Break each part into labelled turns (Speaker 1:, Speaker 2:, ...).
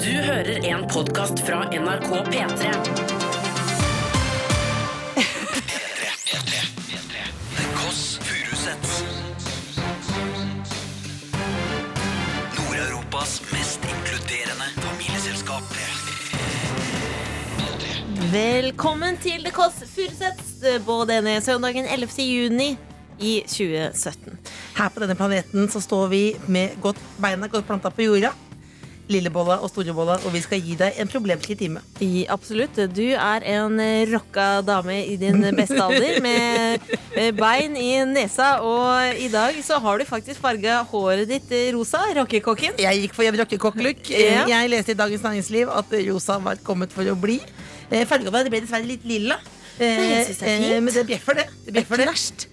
Speaker 1: Du hører en podkast fra NRK P3.
Speaker 2: The Koss Furusets Nord-Europas mest inkluderende familieselskap
Speaker 3: Velkommen til The Kåss Furuseths på denne søndagen 11. juni i 2017.
Speaker 4: Her på denne planeten så står vi med godt, beina godt planta på jorda. Lillebolla og storebolla, og vi skal gi deg en problemfri time.
Speaker 3: I, absolutt. Du er en eh, rocka dame i din beste alder, med, med bein i nesa. Og i dag så har du faktisk farga håret ditt eh, rosa, rockekokken.
Speaker 4: Jeg gikk for en rockekokk-look.
Speaker 3: Ja.
Speaker 4: Eh, Jeg leste i Dagens Næringsliv at rosa var kommet for å bli. Eh, Farga var- det ble dessverre litt lilla.
Speaker 3: Nei, jeg synes det er
Speaker 4: Eh,
Speaker 3: fint.
Speaker 4: eh, Men det bjeffer, det. det, bjeffer det. Reft.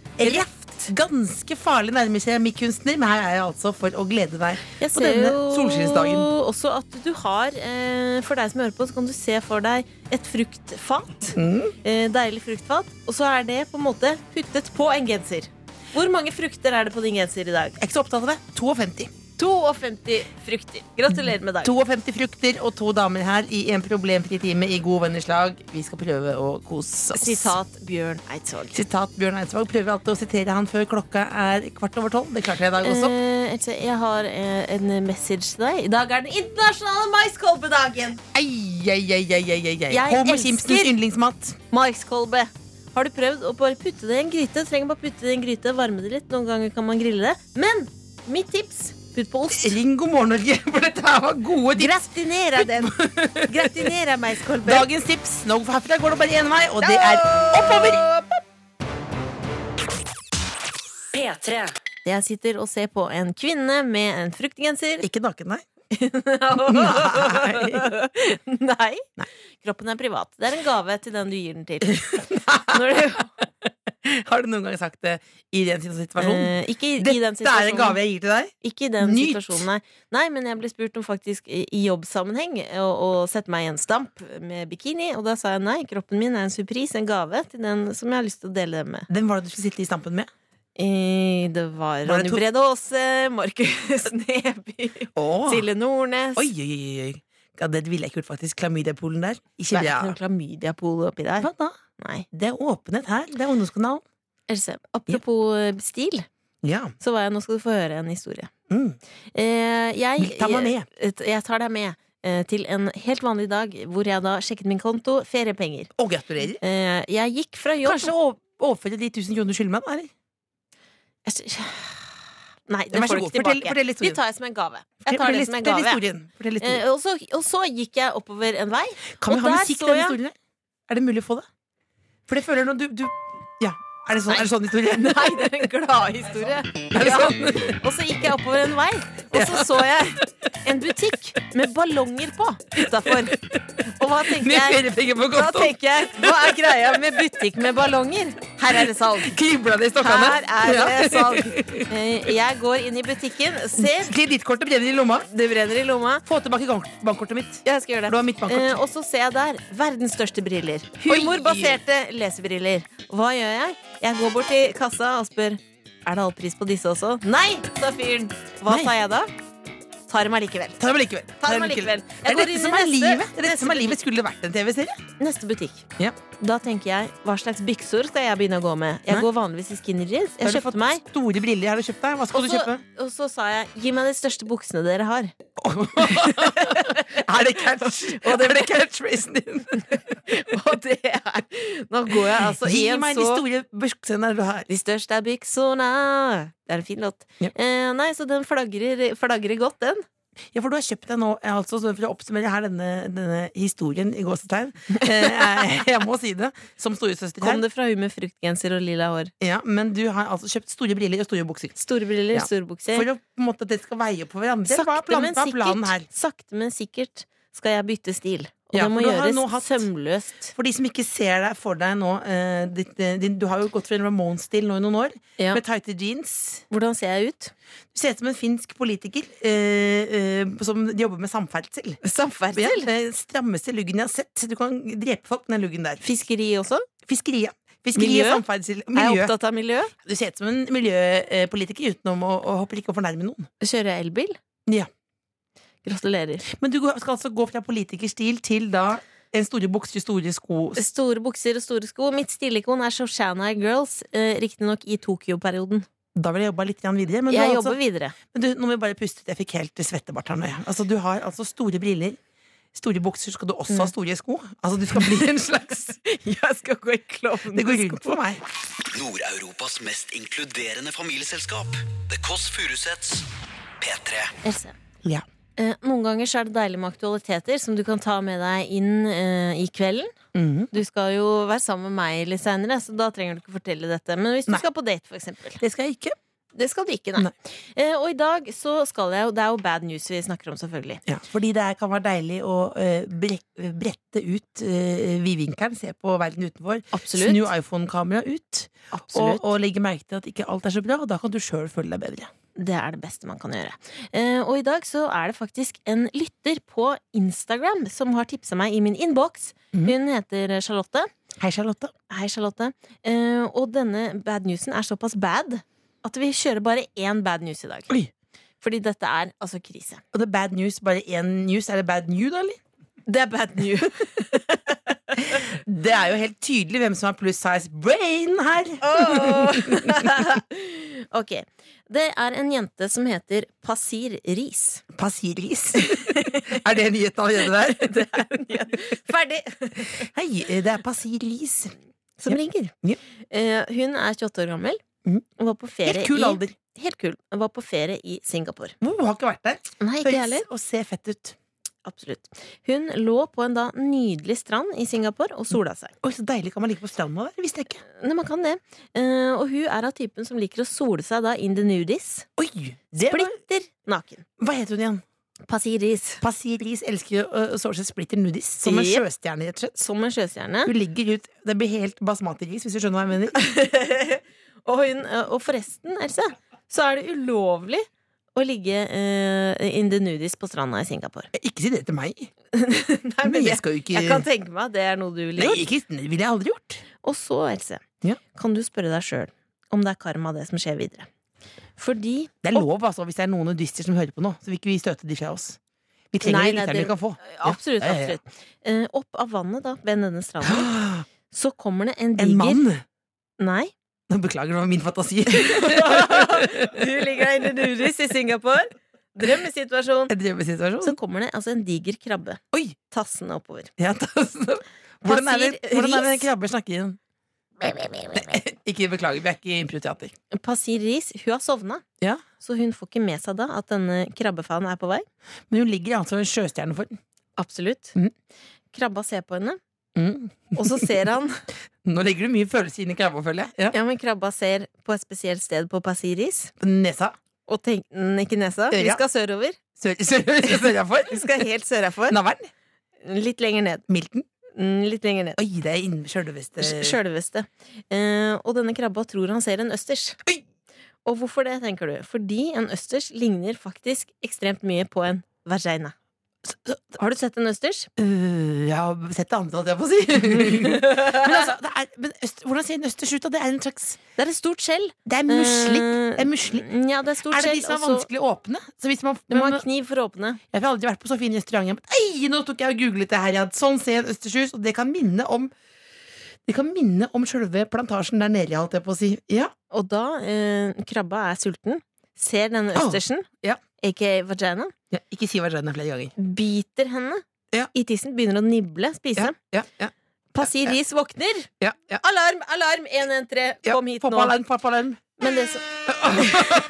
Speaker 4: Ganske farlig nærmer seg mikkunstner, men her er jeg altså for å glede deg
Speaker 3: Jeg
Speaker 4: på
Speaker 3: ser
Speaker 4: denne
Speaker 3: jo
Speaker 4: solskinnsdagen.
Speaker 3: også at du har, eh, for deg som hører på, så kan du se for deg et fruktfat.
Speaker 4: Mm.
Speaker 3: Eh, deilig fruktfat. Og så er det på en måte puttet på en genser. Hvor mange frukter er det på din genser i dag?
Speaker 4: Jeg er ikke så opptatt av det. 52.
Speaker 3: 52 frukter. Gratulerer med dagen.
Speaker 4: 52 frukter og to damer her i en problemfri time i god venners lag. Vi skal prøve å kose oss.
Speaker 3: Sitat Bjørn Eidsvåg.
Speaker 4: Sitat Bjørn Eidsvåg. Prøver alltid å sitere han før klokka er kvart over tolv. Det klarte jeg i dag også.
Speaker 3: Eh, altså, jeg har eh, en message til deg. I dag er den internasjonale maiskolbedagen.
Speaker 4: Ei, ei, ei, ei, ei, ei, ei.
Speaker 3: Jeg
Speaker 4: Homer
Speaker 3: elsker-
Speaker 4: Simpsons yndlingsmat.
Speaker 3: Maiskolbe. Har du prøvd å bare putte det i en gryte? Trenger bare putte det i en gryte, varme det litt. Noen ganger kan man grille det. Men mitt tips putt på ost.
Speaker 4: Ring God morgen, Norge, for dette her var gode tips.
Speaker 3: Gratinera den. Gratinera maiskolbe.
Speaker 4: Dagens tips. Nå herfra går det bare én vei, og det er oppover.
Speaker 1: P3.
Speaker 3: Jeg sitter og ser på en kvinne med en fruktgenser.
Speaker 4: Ikke naken, nei.
Speaker 3: Nei. Kroppen er privat. Det er en gave til den du gir den til. Når du,
Speaker 4: Har du noen gang sagt det i den
Speaker 3: eh,
Speaker 4: situasjonen?
Speaker 3: ikke i, i den
Speaker 4: Dette er en
Speaker 3: situasjonen.
Speaker 4: gave jeg gir til deg.
Speaker 3: Ikke i den
Speaker 4: Nyt.
Speaker 3: situasjonen, nei. nei. Men jeg ble spurt om faktisk i i jobbsammenheng å, å sette meg i en stamp med bikini, og da sa jeg nei. Kroppen min er en surprise, en gave til den som jeg har lyst til å dele den med.
Speaker 4: Hvem var det du skulle sitte i stampen med?
Speaker 3: Eh, Det var
Speaker 4: det
Speaker 3: Ronny
Speaker 4: to-
Speaker 3: Brede Aase, Markus Neby,
Speaker 4: Åh.
Speaker 3: Silje Nordnes.
Speaker 4: Oi, oi, oi. oi. Ja, det ville jeg ikke gjort, faktisk. Klamydiapolen der.
Speaker 3: Det
Speaker 4: Ikke
Speaker 3: er
Speaker 4: bra.
Speaker 3: ikke noe klamydiapol oppi der.
Speaker 4: Hva da?
Speaker 3: Nei.
Speaker 4: Det er åpenhet her. Det er ungdomskanalen.
Speaker 3: Else, apropos eh, stil,
Speaker 4: Ja.
Speaker 3: så var jeg Nå skal du få høre en historie.
Speaker 4: Mm.
Speaker 3: Eh, jeg,
Speaker 4: Ta meg med.
Speaker 3: Jeg, jeg tar deg med eh, til en helt vanlig dag hvor jeg da sjekket min konto, feriepenger.
Speaker 4: Og gratulerer.
Speaker 3: Eh, jeg gikk fra jobb
Speaker 4: Kanskje å overføre de 1000 kronene du skylder meg? da, Eller?
Speaker 3: Jeg- Nei, det
Speaker 4: Vær så
Speaker 3: får du
Speaker 4: god,
Speaker 3: ikke
Speaker 4: fortell-
Speaker 3: tilbake.
Speaker 4: fortell historien.
Speaker 3: Det tar jeg som en gave. Jeg tar
Speaker 4: Fortell
Speaker 3: det
Speaker 4: his-
Speaker 3: som en
Speaker 4: fortell
Speaker 3: gave.
Speaker 4: historien. Fortell historien.
Speaker 3: Eh, og, så, og så gikk jeg oppover en vei.
Speaker 4: kan
Speaker 3: Eh,
Speaker 4: vi
Speaker 3: og
Speaker 4: ha
Speaker 3: der
Speaker 4: musikk
Speaker 3: så
Speaker 4: til den
Speaker 3: jeg-
Speaker 4: historien? der? Er det mulig å få det? For det føler jeg når du, du Ja. Er det sånn,
Speaker 3: Nei.
Speaker 4: er det sånn historie? sånn?
Speaker 3: Nei, det er en gladhistorie. Ja. Og så gikk jeg oppover en vei, og så så jeg en butikk med ballonger på utafor. Og hva tenker
Speaker 4: Med
Speaker 3: jeg?
Speaker 4: feriepenger på
Speaker 3: Da
Speaker 4: kontoen!
Speaker 3: tenker jeg, Hva er greia med butikk med ballonger? Her er det salg.
Speaker 4: Kribla det i stokkene?
Speaker 3: Her er det salg. Eh, Jeg går inn i butikken, ser
Speaker 4: Kredittkortet brenner i lomma.
Speaker 3: det brenner i lomma.
Speaker 4: Få tilbake bank- bankkortet mitt.
Speaker 3: Jeg skal gjøre
Speaker 4: For det
Speaker 3: det.
Speaker 4: var mitt bankkort.
Speaker 3: Eh, og så ser jeg der verdens største briller.
Speaker 4: Oi!
Speaker 3: Humorbaserte lesebriller. Hva gjør jeg? Jeg går bort til kassa og spør Er det halvpris på disse også. Nei, sa fyren. Hva
Speaker 4: Nei.
Speaker 3: sa jeg da? Tar dem allikevel.
Speaker 4: Ta dem likevel.
Speaker 3: Ta dem allikevel.
Speaker 4: Det
Speaker 3: Jeg
Speaker 4: er
Speaker 3: går
Speaker 4: dette
Speaker 3: inn i
Speaker 4: som er
Speaker 3: neste-
Speaker 4: livet. Det er
Speaker 3: neste
Speaker 4: dette som er livet. Skulle det vært en TV-serie?
Speaker 3: Neste butikk.
Speaker 4: Ja.
Speaker 3: Da tenker jeg hva slags bykser skal jeg begynne å gå med? Jeg
Speaker 4: Nei.
Speaker 3: går vanligvis i skinny jeans.
Speaker 4: Har
Speaker 3: Jeg
Speaker 4: du
Speaker 3: kjøpte
Speaker 4: fått
Speaker 3: meg
Speaker 4: Store briller har du kjøpt deg. Hva skal
Speaker 3: og
Speaker 4: du
Speaker 3: så,
Speaker 4: kjøpe?
Speaker 3: og så sa jeg gi meg de største buksene dere har.
Speaker 4: Er det catch? er det catchphrasen din?
Speaker 3: Og det er Nå går jeg altså i
Speaker 4: Gi
Speaker 3: en
Speaker 4: meg de
Speaker 3: så
Speaker 4: store buksene du har.
Speaker 3: De største er byksona. Det er en fin låt.
Speaker 4: Ja.
Speaker 3: Eh, nei, så den flagrer, flagrer godt, den.
Speaker 4: Ja, for du har kjøpt deg nå, eh, altså, så for å oppsummere her denne, denne historien i gåsetegn eh, Jeg må si det, som storesøster
Speaker 3: Kom
Speaker 4: her.
Speaker 3: det fra hun med fruktgenser og lilla hår?
Speaker 4: Ja, men du har altså kjøpt store briller og store bukser.
Speaker 3: Store briller,
Speaker 4: Ja.
Speaker 3: store bukser.
Speaker 4: For å, på en måte, at det skal veie opp for hverandre. Hva
Speaker 3: Eh,
Speaker 4: er
Speaker 3: Sakte,
Speaker 4: planen,
Speaker 3: men
Speaker 4: hva er planen her?
Speaker 3: sikkert, sakte, men sikkert skal jeg bytte stil. Og
Speaker 4: Ja,
Speaker 3: det må
Speaker 4: for du har
Speaker 3: gjøres
Speaker 4: nå hatt-
Speaker 3: sømløst.
Speaker 4: For de som ikke ser deg for deg nå eh, ditt, eh, din, Du har jo gått for en Ramones-stil nå i noen år,
Speaker 3: Ja.
Speaker 4: med tighte jeans.
Speaker 3: Hvordan ser jeg ut?
Speaker 4: Du ser ut som en finsk politiker eh, eh, som jobber med samferdsel. Ja,
Speaker 3: Samferdsel?
Speaker 4: eh, strammeste luggen jeg har sett. Du kan drepe folk med den luggen der.
Speaker 3: Fiskeri også?
Speaker 4: Fiskeria. Fiskeri
Speaker 3: Miljø?
Speaker 4: og
Speaker 3: Er
Speaker 4: samferdsel.
Speaker 3: jeg
Speaker 4: Miljø.
Speaker 3: opptatt av miljø?
Speaker 4: Du ser ut som en miljøpolitiker utenom å, å håper ikke å fornærme noen.
Speaker 3: Kjører jeg elbil?
Speaker 4: Ja.
Speaker 3: Gratulerer.
Speaker 4: Men du går- skal altså gå fra politikerstil til da en store bukser, store sko.
Speaker 3: Store bukser og store sko. Mitt stilikon er Shoshana Girls, eh, riktignok i Tokyo-perioden.
Speaker 4: Da vil jeg jobbe litt grann videre. Men, du,
Speaker 3: Jeg
Speaker 4: har
Speaker 3: jobber
Speaker 4: altså,
Speaker 3: videre.
Speaker 4: men du, nå må jeg bare puste ut. Jeg fikk helt svettebart her nå. jeg. Altså, du har altså store briller. Store bukser skal du også
Speaker 3: Mm.
Speaker 4: ha store sko. Altså, du skal bli en slags
Speaker 3: Jeg skal gå i
Speaker 4: Det går rundt for meg.
Speaker 2: Nord-Europas mest inkluderende familieselskap. The Kåss Furuseths. P3.
Speaker 3: Else.
Speaker 4: Ja.
Speaker 3: Eh, noen ganger så er det deilig med aktualiteter som du kan ta med deg inn eh, i kvelden.
Speaker 4: Mhm.
Speaker 3: Du skal jo være sammen med meg litt seinere, så da trenger du ikke fortelle dette. Men hvis du
Speaker 4: Nei.
Speaker 3: skal på date, for eksempel.
Speaker 4: Det skal jeg ikke.
Speaker 3: Det skal du ikke, nei.
Speaker 4: Nei.
Speaker 3: Eh, og i dag så skal jeg jo Det er jo bad news vi snakker om, selvfølgelig.
Speaker 4: Ja, fordi det er- kan være deilig å eh, brek- brette ut uh, vidvinkelen, se på verden utenfor.
Speaker 3: Absolutt.
Speaker 4: Snu iPhone-kameraet ut og,
Speaker 3: Absolutt.
Speaker 4: og legge merke til at ikke alt er så bra. Og da kan du sjøl føle deg bedre.
Speaker 3: Det er det beste man kan gjøre. Eh, og i dag så er det faktisk en lytter på Instagram som har tipsa meg i min innboks.
Speaker 4: Mhm.
Speaker 3: Hun heter Charlotte.
Speaker 4: Hei, Charlotte.
Speaker 3: Hei, Charlotte. Eh, og denne bad newsen er såpass bad at vi kjører bare én bad news i dag.
Speaker 4: Oi.
Speaker 3: Fordi dette er altså krise.
Speaker 4: Og det er bad news, bare én news. Er det bad news, da, eller?
Speaker 3: Det er bad news.
Speaker 4: Det er jo helt tydelig hvem som har pluss size brain her.
Speaker 3: ok. Det er en jente som heter Pasir Ris.
Speaker 4: Passiris. er det nyheten allerede der?
Speaker 3: Det er en jente. Ferdig!
Speaker 4: Hei, det er Passiris.
Speaker 3: Som
Speaker 4: Ja.
Speaker 3: ringer.
Speaker 4: Ja.
Speaker 3: Eh, hun er 28 år gammel.
Speaker 4: Mhm.
Speaker 3: Og var på ferie
Speaker 4: Helt kul
Speaker 3: i,
Speaker 4: alder.
Speaker 3: Helt kul. Hun Var på ferie i Singapore.
Speaker 4: Hun har ikke vært der.
Speaker 3: Nei, ikke jeg heller.
Speaker 4: Høres og ser fett ut.
Speaker 3: Absolutt. Hun lå på en da nydelig strand i Singapore og sola seg.
Speaker 4: Oi, Så deilig kan man ligge på stranda der. Visste jeg ikke.
Speaker 3: Nei, man kan det. Eh, og hun er av typen som liker å sole seg da in the nudies.
Speaker 4: Oi, det var,
Speaker 3: Splitter naken.
Speaker 4: Hva heter hun igjen?
Speaker 3: Passiris.
Speaker 4: Pasiris elsker å å såre seg splitter nudis. Som en
Speaker 3: Yep.
Speaker 4: sjøstjerne, rett og slett.
Speaker 3: Som en sjøstjerne.
Speaker 4: Hun ligger ut Det blir helt basmati-ris, hvis du skjønner hva jeg mener.
Speaker 3: og, hun, eh, og forresten, Else, så er det ulovlig å ligge eh, in the nudies på stranda i Singapore.
Speaker 4: Ikke si det til meg.
Speaker 3: Nei,
Speaker 4: Men jeg
Speaker 3: jeg,
Speaker 4: skal jo ikke
Speaker 3: jeg kan tenke meg at det er noe du ville
Speaker 4: Nei,
Speaker 3: gjort.
Speaker 4: ikke, det ville jeg aldri gjort.
Speaker 3: Og så, Else,
Speaker 4: Ja.
Speaker 3: kan du spørre deg sjøl om det er karma, det som skjer videre. Fordi
Speaker 4: Det er lov, altså, hvis det er noen nudister som hører på nå. Så vil ikke vi støte de fra oss. Vi trenger
Speaker 3: Nei,
Speaker 4: de
Speaker 3: nei,
Speaker 4: lytterne
Speaker 3: det-
Speaker 4: vi kan få.
Speaker 3: Absolutt.
Speaker 4: Ja, ja, ja.
Speaker 3: absolutt Eh, Opp av vannet, da, ved denne stranden, så kommer det en diger
Speaker 4: En mann!
Speaker 3: Nei.
Speaker 4: Nå Beklager, det var min fantasi.
Speaker 3: du ligger inne nuris i Singapore. Drømmesituasjon.
Speaker 4: En
Speaker 3: Så
Speaker 4: drømmesituasjon.
Speaker 3: kommer det altså en diger krabbe
Speaker 4: Oi!
Speaker 3: tassende oppover.
Speaker 4: Ja, da- så- hvordan er det,
Speaker 3: Pasir
Speaker 4: hvordan er det
Speaker 3: ris.
Speaker 4: krabber snakker igjen? Ikke beklager, vi er ikke i improteater.
Speaker 3: Pasir Ris, hun har sovna.
Speaker 4: Ja.
Speaker 3: Så hun får ikke med seg da at denne krabbefanen er på vei.
Speaker 4: Men hun ligger altså i en sjøstjerne for den.
Speaker 3: Absolutt.
Speaker 4: Mhm.
Speaker 3: Mm. Krabba ser på henne, og så ser han
Speaker 4: Mm. Nå legger du mye følelser inn i krabba, føler jeg.
Speaker 3: Ja, men krabba ser på et spesielt sted på Pasir Ris,
Speaker 4: Nesa.
Speaker 3: og tenk- mm, Ikke nesa. Vi
Speaker 4: Øya.
Speaker 3: skal sørover.
Speaker 4: Sør, sør, sør, for.
Speaker 3: Vi skal helt sørafor.
Speaker 4: Navlen.
Speaker 3: Litt lenger ned.
Speaker 4: Milton.
Speaker 3: Mm, Litt lenger ned.
Speaker 4: Oi, det er innen sjølveste
Speaker 3: Sj- Sjølveste. Eh, og denne krabba tror han ser en østers.
Speaker 4: Oi!
Speaker 3: Og hvorfor det, tenker du? Fordi en østers ligner faktisk ekstremt mye på en vagina. Har du sett en østers?
Speaker 4: Øh, Jeg har sett det andre, holdt jeg på å si. men altså, det er, men øst, hvordan ser en østers ut? da? Det er en slags
Speaker 3: Det er et stort skjell.
Speaker 4: Det er musling.
Speaker 3: Eh,
Speaker 4: Det er musling.
Speaker 3: Ja, det er et stort
Speaker 4: Er det
Speaker 3: skjell.
Speaker 4: de som er
Speaker 3: og så-
Speaker 4: vanskelig å åpne? Så hvis man,
Speaker 3: Du må ha
Speaker 4: man,
Speaker 3: kniv for å åpne.
Speaker 4: jeg har aldri vært på så fin restaurant. Men ei, nå tok jeg og googlet det her. Ja. Sånn ser en østers ut, og det kan minne om Det kan minne om sjølve plantasjen der nede, holdt jeg på å si. Ja,
Speaker 3: Og da eh, krabba er sulten, ser denne
Speaker 4: Åh,
Speaker 3: østersen,
Speaker 4: ja.
Speaker 3: aka vagina,
Speaker 4: ja Ikke si vagina flere ganger.
Speaker 3: biter henne
Speaker 4: Ja.
Speaker 3: i tissen, begynner å nible, spise.
Speaker 4: Ja, ja, ja,
Speaker 3: Pasir Ris våkner.
Speaker 4: ja, ja.
Speaker 3: Alarm, alarm, 113,
Speaker 4: Ja,
Speaker 3: kom hit nå.
Speaker 4: Pappa-alarm, pappa-alarm.
Speaker 3: Men det, som-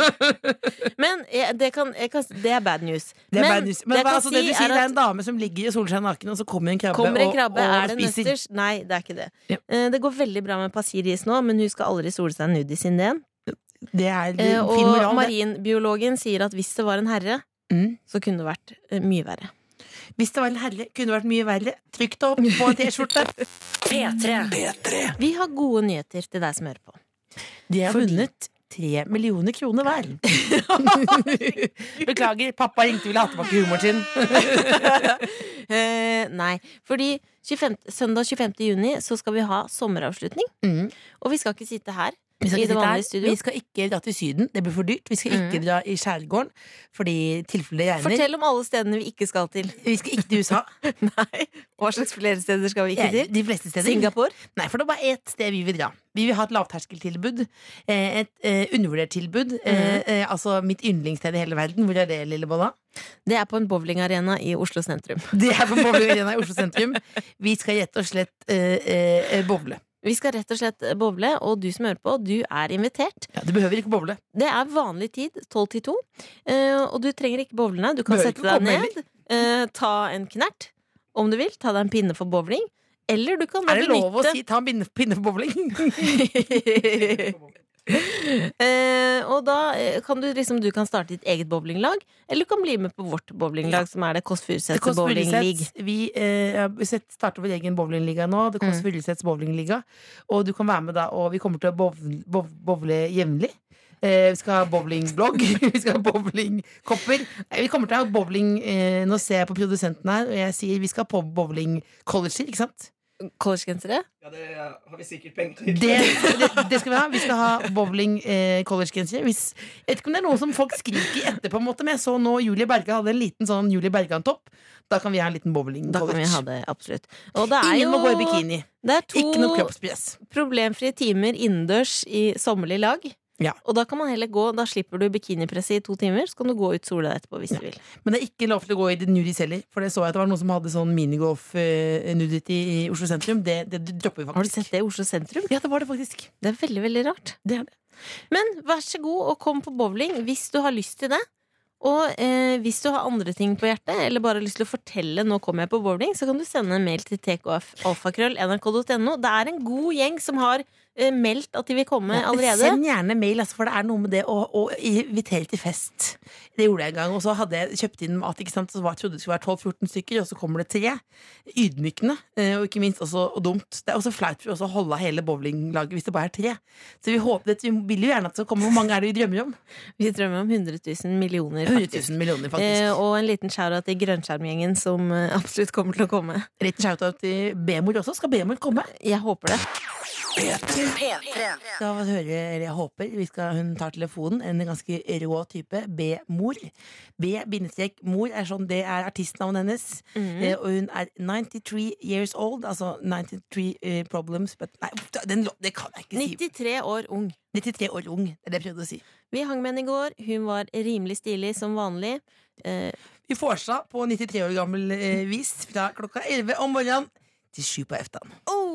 Speaker 3: men jeg, det, kan, jeg kan, det er bad news.
Speaker 4: Det er
Speaker 3: men
Speaker 4: bad news. Men
Speaker 3: det jeg
Speaker 4: hva,
Speaker 3: kan
Speaker 4: altså,
Speaker 3: si
Speaker 4: det du sier,
Speaker 3: er
Speaker 4: det er
Speaker 3: at
Speaker 4: en dame som ligger og soler seg naken, og så kommer en krabbe,
Speaker 3: Kommer en krabbe,
Speaker 4: og, og
Speaker 3: er det en
Speaker 4: spiser.
Speaker 3: østers? Nei, det er ikke det.
Speaker 4: Ja.
Speaker 3: Eh, Det går veldig bra med Pasiris nå, men hun skal aldri sole seg nudis inn igjen.
Speaker 4: Det er det,
Speaker 3: Eh,
Speaker 4: fin
Speaker 3: Og
Speaker 4: moral. det.
Speaker 3: marinbiologen sier at hvis det var en herre,
Speaker 4: Mm.
Speaker 3: så kunne det vært eh, mye verre.
Speaker 4: Hvis det var en herre, kunne det vært mye verre. Trykk det opp på en T-skjorte.
Speaker 1: P3.
Speaker 2: P3.
Speaker 3: Vi har gode nyheter til deg som hører på.
Speaker 4: De har
Speaker 3: Fordi-
Speaker 4: vunnet tre millioner kroner hver. Beklager, pappa ringte og ville ha tilbake humoren sin.
Speaker 3: Eh, nei, fordi 25, søndag 25. juni så skal vi ha sommeravslutning.
Speaker 4: Mm.
Speaker 3: Og vi skal ikke sitte her.
Speaker 4: Vi skal,
Speaker 3: I det
Speaker 4: ikke sitte her.
Speaker 3: vanlige studio?
Speaker 4: vi skal ikke dra til Syden, det blir for dyrt. Vi skal ikke dra i skjærgården, fordi i tilfelle det regner.
Speaker 3: Fortell om alle stedene vi ikke skal til.
Speaker 4: Vi skal ikke til USA.
Speaker 3: Nei, Hva slags flere steder skal vi ikke
Speaker 4: Jeg-
Speaker 3: til?
Speaker 4: De fleste steder.
Speaker 3: Singapore?
Speaker 4: Nei, for det er bare ett sted vi vil dra. Vi vil ha et lavterskeltilbud. eh, Et eh, undervurdert tilbud. eh, eh, Altså mitt yndlingssted i hele verden. Hvor er det, lille bolla?
Speaker 3: Det er på en bowlingarena i Oslo sentrum.
Speaker 4: Det er på Bowling Arena i Oslo sentrum. Vi skal rett og slett eh, eh, bowle.
Speaker 3: Vi skal rett og slett eh, bowle, og du som hører på, du er invitert.
Speaker 4: Ja, du behøver ikke bowle.
Speaker 3: Det er vanlig tid, 12 til 2. eh, Og du trenger ikke bowlene. Du kan
Speaker 4: Behøver
Speaker 3: sette
Speaker 4: ikke
Speaker 3: deg
Speaker 4: komme
Speaker 3: ned, eh, ta en knert om du vil, ta deg en pinne for bowling. Eller du kan da
Speaker 4: Er det lov å
Speaker 3: benytte-
Speaker 4: si ta en pinne, pinne for bowling?
Speaker 3: Eh, og da eh, kan du liksom Du kan starte ditt eget bowlinglag, eller du kan bli med på vårt bowlinglag, som er det Kåss
Speaker 4: Det
Speaker 3: Furuseths
Speaker 4: Kåss
Speaker 3: bowling league.
Speaker 4: Furuseths. Vi eh, vi set- starter vår egen bowlingliga nå. Det Kåss
Speaker 3: Mm.
Speaker 4: Furuseths bowlingliga. Og du kan være med da, og vi kommer til å bowle, bowle jevnlig. Eh, vi skal ha bowlingblogg, vi skal ha bowlingkopper. Nei, Vi kommer til å ha bowling eh, Nå ser jeg på produsenten her, og jeg sier vi skal på bowlingcolleger, ikke sant?
Speaker 3: Collegegensere?
Speaker 5: Ja, det har vi sikkert penger
Speaker 4: Det,
Speaker 5: til.
Speaker 4: det, det skal vi ha. Vi skal ha bowling eh, collegegensere. Hvis- Jeg vet ikke om det er noe som folk skriker etter, på en måte, men jeg så nå Julie Bergan hadde en liten sånn Julie Bergan-topp. Da kan vi ha en liten
Speaker 3: Da kan vi
Speaker 4: bowling-college.
Speaker 3: ha det, absolutt. Og det er
Speaker 4: Ingen må gå i
Speaker 3: jo
Speaker 4: bikini.
Speaker 3: det er
Speaker 4: Ikke noe
Speaker 3: to
Speaker 4: kroppspress.
Speaker 3: problemfrie timer innendørs i sommerlig lag.
Speaker 4: Ja.
Speaker 3: Og da kan man heller gå Da slipper du bikinipresset i to timer, så kan du gå ut sola etterpå hvis du vil.
Speaker 4: Men det er ikke lov til å gå i det nudis heller. For det så jeg at det var noen som hadde sånn minigolf-nudity i Oslo sentrum. Det, det dropper vi
Speaker 3: Har
Speaker 4: faktisk.
Speaker 3: du sett det i Oslo sentrum?
Speaker 4: Ja, det var det faktisk.
Speaker 3: Det er veldig, veldig rart.
Speaker 4: Det er det.
Speaker 3: Men vær så god og kom på bowling hvis du har lyst til det. Og eh, hvis du har andre ting på hjertet, eller bare har lyst til å fortelle Nå kommer jeg på bowling, så kan du sende en mail til tkfalfakrøll.nrk.no. Det er en god gjeng som har eh, meldt at de vil komme Eh, allerede.
Speaker 4: Send gjerne mail, altså, for det er noe med det å, å invitere til fest. Det gjorde jeg en gang, og så hadde jeg kjøpt inn mat. Ikke sant? Så var, jeg trodde det skulle være 12-14 stykker, og så kommer det tre. Ydmykende, eh, og ikke minst også og dumt. Det er også flaut for oss å holde av hele bowlinglaget hvis det bare er tre. Så vi, håper, vi vil jo gjerne at det skal komme. Hvor mange er det vi drømmer om?
Speaker 3: Vi drømmer om 100 000 millioner,
Speaker 4: 100
Speaker 3: faktisk.
Speaker 4: 000 millioner,
Speaker 3: Eh,
Speaker 4: faktisk.
Speaker 3: og en liten shout-out til Grønnskjermgjengen, som eh, absolutt kommer til å komme.
Speaker 4: Liten shout-out til B-mor også. Skal B-mor komme?
Speaker 3: Jeg håper det.
Speaker 4: Skal vi høre, eller jeg håper vi skal, Hun tar telefonen. En ganske rå type. B-mor. B-mor er sånn, det er artistnavnet hennes. Eh, og hun er 93 years old. Altså 93 eh, problems but, Nei, den, lå- det kan jeg ikke si.
Speaker 3: 93 år ung.
Speaker 4: 93 år ung, det er det jeg prøvde å si.
Speaker 3: Vi hang med henne i går. Hun var rimelig stilig som vanlig. Eh,
Speaker 4: Vi forsa på 93 år gammel eh, vis fra klokka 11 om morgenen til 7 på eftan.
Speaker 3: oh,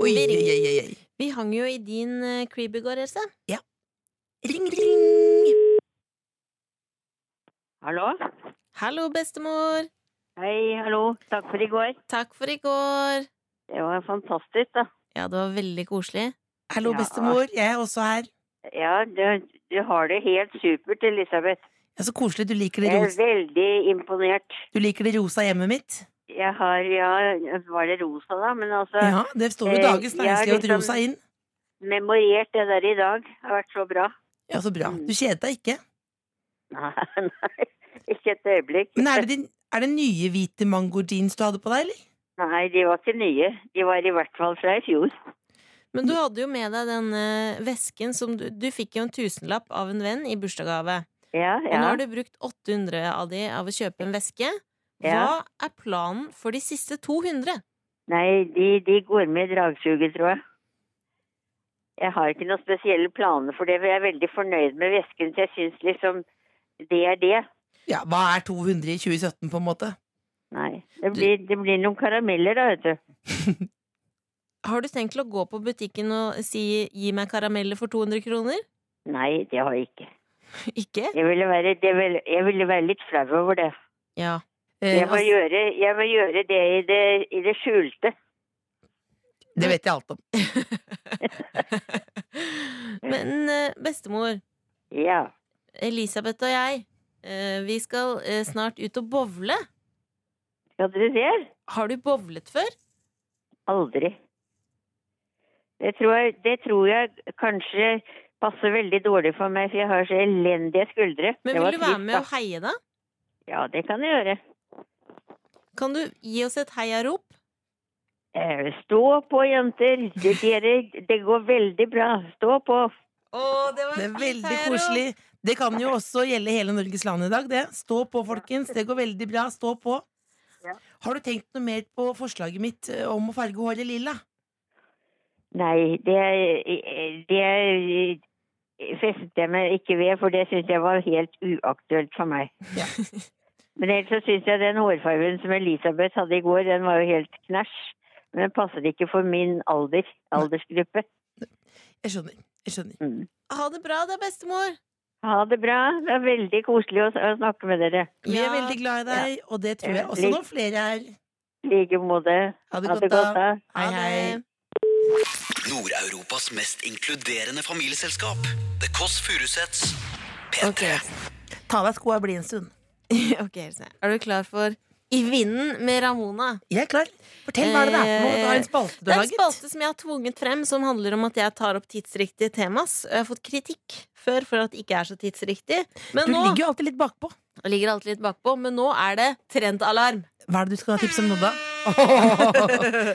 Speaker 4: Oi,
Speaker 3: vi
Speaker 4: oi,
Speaker 3: ringer.
Speaker 4: oi, oi, oi.
Speaker 3: Vi hang jo i din eh, crib i går, Else.
Speaker 4: Ring, ring!
Speaker 6: Hallo?
Speaker 3: Hallo, bestemor.
Speaker 6: Hei, hallo. Takk for i går.
Speaker 3: Takk for i går.
Speaker 6: Det var fantastisk, da.
Speaker 3: Ja, det var veldig koselig.
Speaker 4: Hallo,
Speaker 6: Ja.
Speaker 4: bestemor. Jeg er også her.
Speaker 6: Ja, du, du har det helt supert, Elisabeth.
Speaker 4: Ja, så koselig. Du liker det
Speaker 6: Jeg er
Speaker 4: rosa,
Speaker 6: veldig imponert.
Speaker 4: du liker det rosa hjemmet mitt?
Speaker 6: Jeg har, ja, var det rosa da, men altså,
Speaker 4: Ja, det står jo
Speaker 6: Eh,
Speaker 4: Dagens
Speaker 6: jeg
Speaker 4: Næringsliv at
Speaker 6: liksom-
Speaker 4: rosa inn.
Speaker 6: memorert det der i dag. Det har vært så bra.
Speaker 4: Ja, så bra.
Speaker 6: Mm.
Speaker 4: Du kjedet deg ikke.
Speaker 6: Nei, nei, ikke et øyeblikk.
Speaker 4: Men er det, din, er det nye hvite mango-jeans du hadde på deg, eller?
Speaker 6: Nei, de var ikke nye. De var i hvert fall fra i fjor.
Speaker 3: Men du hadde jo med deg den eh, vesken som du, du fikk jo en tusenlapp av en venn i bursdagsgave.
Speaker 6: Ja,
Speaker 3: Og nå
Speaker 6: ja.
Speaker 3: har du brukt 800 av de av å kjøpe en veske.
Speaker 6: Ja.
Speaker 3: Hva er planen for de siste 200?
Speaker 6: Nei, de, de går med i dragsuget, tror jeg. Jeg har ikke noen spesielle planer for det, for jeg er veldig fornøyd med vesken, så jeg syns liksom det er det.
Speaker 4: Ja, hva er 200 i 2017, på en måte?
Speaker 6: Nei. Det blir, det blir noen karameller, da, vet du.
Speaker 3: Har du tenkt til å gå på butikken og si 'gi meg karameller for 200 kroner'?
Speaker 6: Nei, det har jeg ikke.
Speaker 3: Ikke?
Speaker 6: Jeg ville være, det vil, jeg ville være litt flau over det.
Speaker 3: Ja.
Speaker 4: Eh,
Speaker 6: Jeg må
Speaker 4: altså,
Speaker 6: gjøre, jeg må gjøre det, i det i det skjulte.
Speaker 4: det vet jeg alt om.
Speaker 3: Men eh, bestemor,
Speaker 6: Ja.
Speaker 3: Elisabeth og jeg, eh, vi skal eh, snart ut og bowle.
Speaker 6: Skal dere se?
Speaker 3: Har du bowlet før?
Speaker 6: Aldri. Det tror, jeg, det tror jeg kanskje passer veldig dårlig for meg, for jeg har så elendige skuldre.
Speaker 3: Men
Speaker 6: Det var
Speaker 3: vil du være
Speaker 6: trist,
Speaker 3: med
Speaker 6: da.
Speaker 3: og heie, da?
Speaker 6: Ja, det kan jeg gjøre.
Speaker 3: Kan du gi oss et heiarop?
Speaker 6: Eh, Stå på, jenter. Det, dere, det går veldig bra. Stå på.
Speaker 3: Å, det var
Speaker 4: Det er
Speaker 3: fint,
Speaker 4: veldig
Speaker 3: Taro.
Speaker 4: koselig. Det kan jo også gjelde hele Norges land i dag. Det. Stå på, folkens. Det går veldig bra. Stå på.
Speaker 6: Ja.
Speaker 4: Har du tenkt noe mer på forslaget mitt eh, om å farge håret lilla?
Speaker 6: Nei, det, det festet jeg meg ikke ved, for det syns jeg var helt uaktuelt for meg.
Speaker 4: Ja.
Speaker 6: Men ellers så syns jeg den hårfargen som Elisabeth hadde i går, den var jo helt knæsj. Men den passer ikke for min alder, aldersgruppe.
Speaker 4: Jeg skjønner. Jeg skjønner.
Speaker 6: Mm.
Speaker 3: Ha det bra da, bestemor.
Speaker 6: Ha det bra. Det er veldig koselig å, å snakke med dere.
Speaker 4: Vi er
Speaker 3: Ja.
Speaker 4: veldig glad i deg, og det tror jeg også
Speaker 6: Lik-
Speaker 4: noen flere er.
Speaker 6: I like måte.
Speaker 4: Ha det
Speaker 6: Ha
Speaker 4: godt, da. Hei,
Speaker 3: Ha
Speaker 4: hei.
Speaker 3: det.
Speaker 2: Nord-Europas mest inkluderende familieselskap. The Kåss Furuseths. P3.
Speaker 3: Ok,
Speaker 4: Ta av deg skoa, bli en stund.
Speaker 3: ok, Else. Er du klar for I vinden med Ramona?
Speaker 4: Jeg er klar. Fortell hva er det er for noe. Du har en spalte
Speaker 3: Eh,
Speaker 4: du
Speaker 3: Det
Speaker 4: har
Speaker 3: er en
Speaker 4: laget.
Speaker 3: spalte som jeg har tvunget frem, som handler om at jeg tar opp tidsriktige temas. Jeg har fått kritikk før for at det ikke er så tidsriktig. Men
Speaker 4: Du
Speaker 3: nå
Speaker 4: ligger jo alltid litt bakpå.
Speaker 3: jeg ligger alltid litt bakpå, men nå er det trendalarm.
Speaker 4: Hva er det du skal ha tips om nå, da?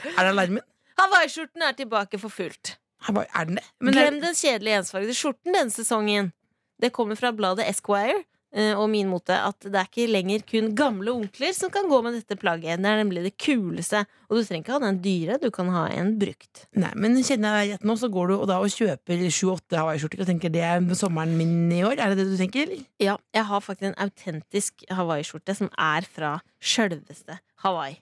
Speaker 4: er det alarmen?
Speaker 3: Hawaiiskjorten er tilbake for fullt.
Speaker 4: Her var- Er den det? Men er-
Speaker 3: Glem den kjedelige ensfargede skjorten denne sesongen. Det kommer fra bladet Esquire eh, og min mote at det er ikke lenger kun gamle onkler som kan gå med dette plagget. Det er nemlig det kuleste. Og du trenger ikke ha den dyre, du kan ha en brukt.
Speaker 4: Nei, men kjenner jeg rett nå, så går du og da og kjøper sju-åtte hawaiiskjorter og tenker det er sommeren min i år. Er det det du tenker?
Speaker 3: Ja, jeg har faktisk en autentisk hawaiiskjorte som er fra sjølveste Hawaii.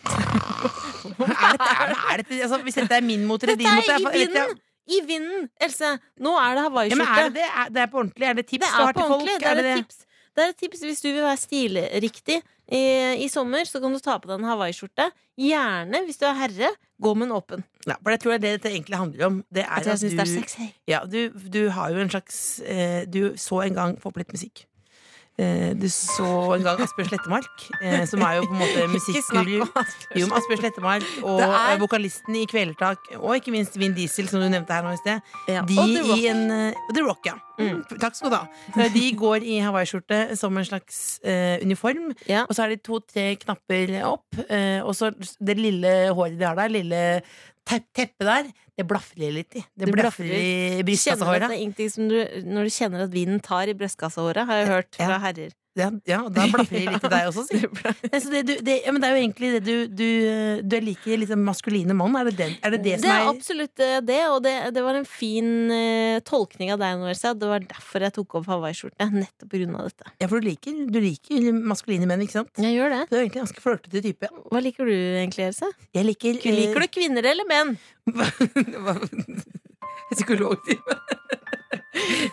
Speaker 4: Er dette, er, er dette, altså, hvis dette er min mot eller
Speaker 3: Dette
Speaker 4: din mot
Speaker 3: er
Speaker 4: jeg-
Speaker 3: i
Speaker 4: jeg- jeg-
Speaker 3: vinden! I vinden, Else! Nå er det
Speaker 4: Ja, men er
Speaker 3: hawaiiskjorte.
Speaker 4: det det? Er, det er på ordentlig? Er det tips
Speaker 3: det
Speaker 4: du har
Speaker 3: er på
Speaker 4: til folk?
Speaker 3: ordentlig. Det er et tips. Det er et tips Hvis du vil være stilriktig i, i sommer, så kan du ta på deg en hawaiiskjorte. Gjerne, hvis du er herre, gå med en åpen.
Speaker 4: Ja, for det tror jeg det dette egentlig handler om. Det er
Speaker 3: At jeg
Speaker 4: at
Speaker 3: syns det er
Speaker 4: du,
Speaker 3: sexy.
Speaker 4: ja, du, du har jo en slags eh, Du så en gang Få på litt musikk. Eh, du så en gang Asbjørn Slettemark, eh, som er jo på en måte
Speaker 3: Ikke snakk
Speaker 4: musikkguru.
Speaker 3: om Asbjørn.
Speaker 4: Jo, men Asbjørn Slettemark og
Speaker 3: Det er-
Speaker 4: eh, vokalisten i Kvelertak, og ikke minst Vin Diesel, som du nevnte her nå i sted.
Speaker 3: Ja,
Speaker 4: De
Speaker 3: og The Rock.
Speaker 4: i en eh, The Rock, ja.
Speaker 3: Mm.
Speaker 4: Takk skal du ha. Eh, De går i hawaiiskjorte som en slags eh, uniform,
Speaker 3: Ja.
Speaker 4: og så er det to-tre knapper opp, eh, og så det lille håret de har der, lille te teppet der, det blafrer de litt i. Det
Speaker 3: Det
Speaker 4: blafrer
Speaker 3: blafrer. Kjenner du at
Speaker 4: i
Speaker 3: det
Speaker 4: brystkassehåret.
Speaker 3: er ingenting som du, når du kjenner at vinden tar i brystkassehåret, har jeg hørt
Speaker 4: Ja.
Speaker 3: fra herrer.
Speaker 4: Ja, ja, da blafrer de litt i deg også, si. Nei, så det, du, det, ja, men det er jo egentlig det du Du, eh, du er like litt sånn maskuline mann, er det den, er det, det
Speaker 3: Det
Speaker 4: som
Speaker 3: er
Speaker 4: er
Speaker 3: absolutt eh, det, og det, det var en fin eh, tolkning av deg nå, Elsa. Det var derfor jeg tok opp hawaiiskjorte. Nettopp pga. dette.
Speaker 4: Ja, for du liker, du liker maskuline menn, ikke sant?
Speaker 3: Jeg gjør det.
Speaker 4: Du er egentlig ganske flørtete type.
Speaker 3: Hva liker du egentlig, Else?
Speaker 4: Jeg liker
Speaker 3: Liker du kvinner eller menn?
Speaker 4: Psykologtime.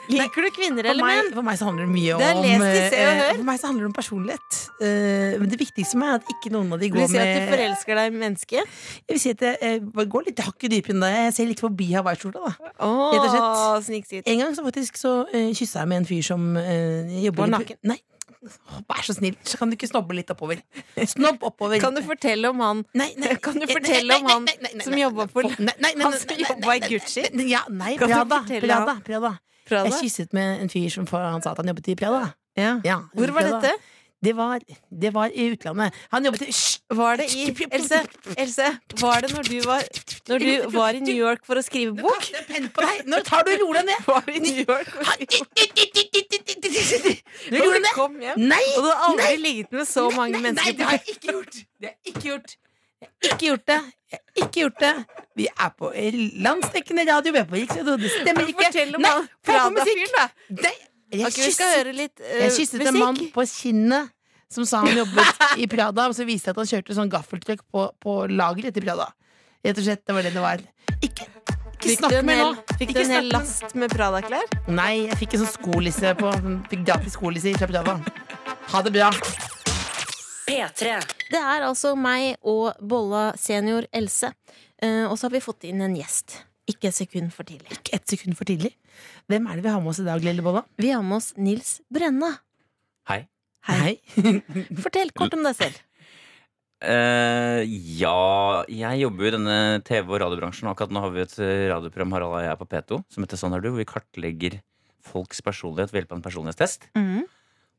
Speaker 3: Liker du kvinner
Speaker 4: For
Speaker 3: eller
Speaker 4: meg,
Speaker 3: menn?
Speaker 4: for meg så handler det mye om
Speaker 3: Det er lest i
Speaker 4: eh,
Speaker 3: Se og Hør.
Speaker 4: For meg så handler det om personlighet. Eh, men det viktigste for meg er at ikke noen av de
Speaker 3: Vil
Speaker 4: går
Speaker 3: du si at du
Speaker 4: med
Speaker 3: forelsker deg i mennesket?
Speaker 4: Jeg vil si at jeg eh, går litt hakket dypere enn deg. Jeg ser litt forbi hawaiiskjorta, da.
Speaker 3: Åh,
Speaker 4: Rett og
Speaker 3: snikskritt.
Speaker 4: En gang så faktisk så uh, kyssa jeg med en fyr som eh, jobber
Speaker 3: Var
Speaker 4: litt- Nei. Åh, Vær så snill, så kan du ikke snobbe litt oppover? Snobb oppover.
Speaker 3: Kan du fortelle om han
Speaker 4: Nei, nei,
Speaker 3: Kan du
Speaker 4: nei,
Speaker 3: fortelle
Speaker 4: nei,
Speaker 3: om
Speaker 4: nei,
Speaker 3: han
Speaker 4: nei, nei, nei,
Speaker 3: som
Speaker 4: nei,
Speaker 3: jobber
Speaker 4: nei,
Speaker 3: for-
Speaker 4: nei, nei, nei,
Speaker 3: han
Speaker 4: nei,
Speaker 3: som
Speaker 4: nei, nei,
Speaker 3: jobber
Speaker 4: nei,
Speaker 3: i Gucci?
Speaker 4: nei, nei, Ja, nei,
Speaker 3: Kan du
Speaker 4: Prada,
Speaker 3: fortelle
Speaker 4: Prada,
Speaker 3: han?
Speaker 4: Prada.
Speaker 3: fra
Speaker 4: Jeg
Speaker 3: deg?
Speaker 4: kysset med en fyr som for, han sa at han jobbet i Prada.
Speaker 3: Ja.
Speaker 4: Ja,
Speaker 3: Hvor var
Speaker 4: Prada.
Speaker 3: dette?
Speaker 4: Det var, det var i utlandet. Han jobbet i Hysj!
Speaker 3: Var det i Else, Else var det når du var, når du var i New York for å skrive bok?
Speaker 4: Det er penn på deg! Når tar du og roer deg ned?
Speaker 3: Var du i New York for å skrive bok? Og
Speaker 4: Når roer
Speaker 3: du
Speaker 4: deg ned?
Speaker 3: kom hjem,
Speaker 4: Nei!
Speaker 3: og du har aldri
Speaker 4: nei,
Speaker 3: ligget med så mange
Speaker 4: nei, Nei,
Speaker 3: mennesker
Speaker 4: det har jeg ikke gjort! Det har jeg ikke gjort. Jeg har ikke gjort det. Jeg har ikke gjort det. Vi er på landsdekkende radio, vi er på Riksradio, det stemmer ikke.
Speaker 3: Fortell om
Speaker 4: Nei,
Speaker 3: han
Speaker 4: få på
Speaker 3: Prada-fyren,
Speaker 4: musikk!
Speaker 3: da.
Speaker 4: Nei, jeg
Speaker 3: Ok, vi skal
Speaker 4: kysset-
Speaker 3: høre litt eh,
Speaker 4: Jeg kysset en mann
Speaker 3: musikk.
Speaker 4: på kinnet som sa han jobbet i Prada, og så viste det at han kjørte sånn gaffeltruck på, på lageret til Prada. Rett og slett, det var det det var. Ikke, ikke
Speaker 3: Fikk du
Speaker 4: snakk
Speaker 3: en
Speaker 4: mer nå!
Speaker 3: hel, fikk du
Speaker 4: Ikke
Speaker 3: en
Speaker 4: snakk
Speaker 3: hel
Speaker 4: mer.
Speaker 3: last med Prada-klær?
Speaker 4: Nei, jeg fikk en sånn skolisse på Fikk gratis skolisse fra Prada. Ha det bra.
Speaker 1: P3.
Speaker 3: Det er altså meg og Bolla senior Else. Eh, og så har vi fått inn en gjest. Ikke et sekund for tidlig.
Speaker 4: Ikke ett sekund for tidlig. Hvem er det vi har med oss i dag, lille Bolla?
Speaker 3: Vi har med oss Nils Brenna.
Speaker 7: Hei.
Speaker 3: Hei. Fortell kort om deg selv.
Speaker 7: Eh, ja, jeg jobber jo i denne TV- og radiobransjen. og Akkurat nå har vi et eh, radioprogram Harald og jeg er på P2 som heter Sånn er du, hvor vi kartlegger folks personlighet ved hjelp av en personlighetstest.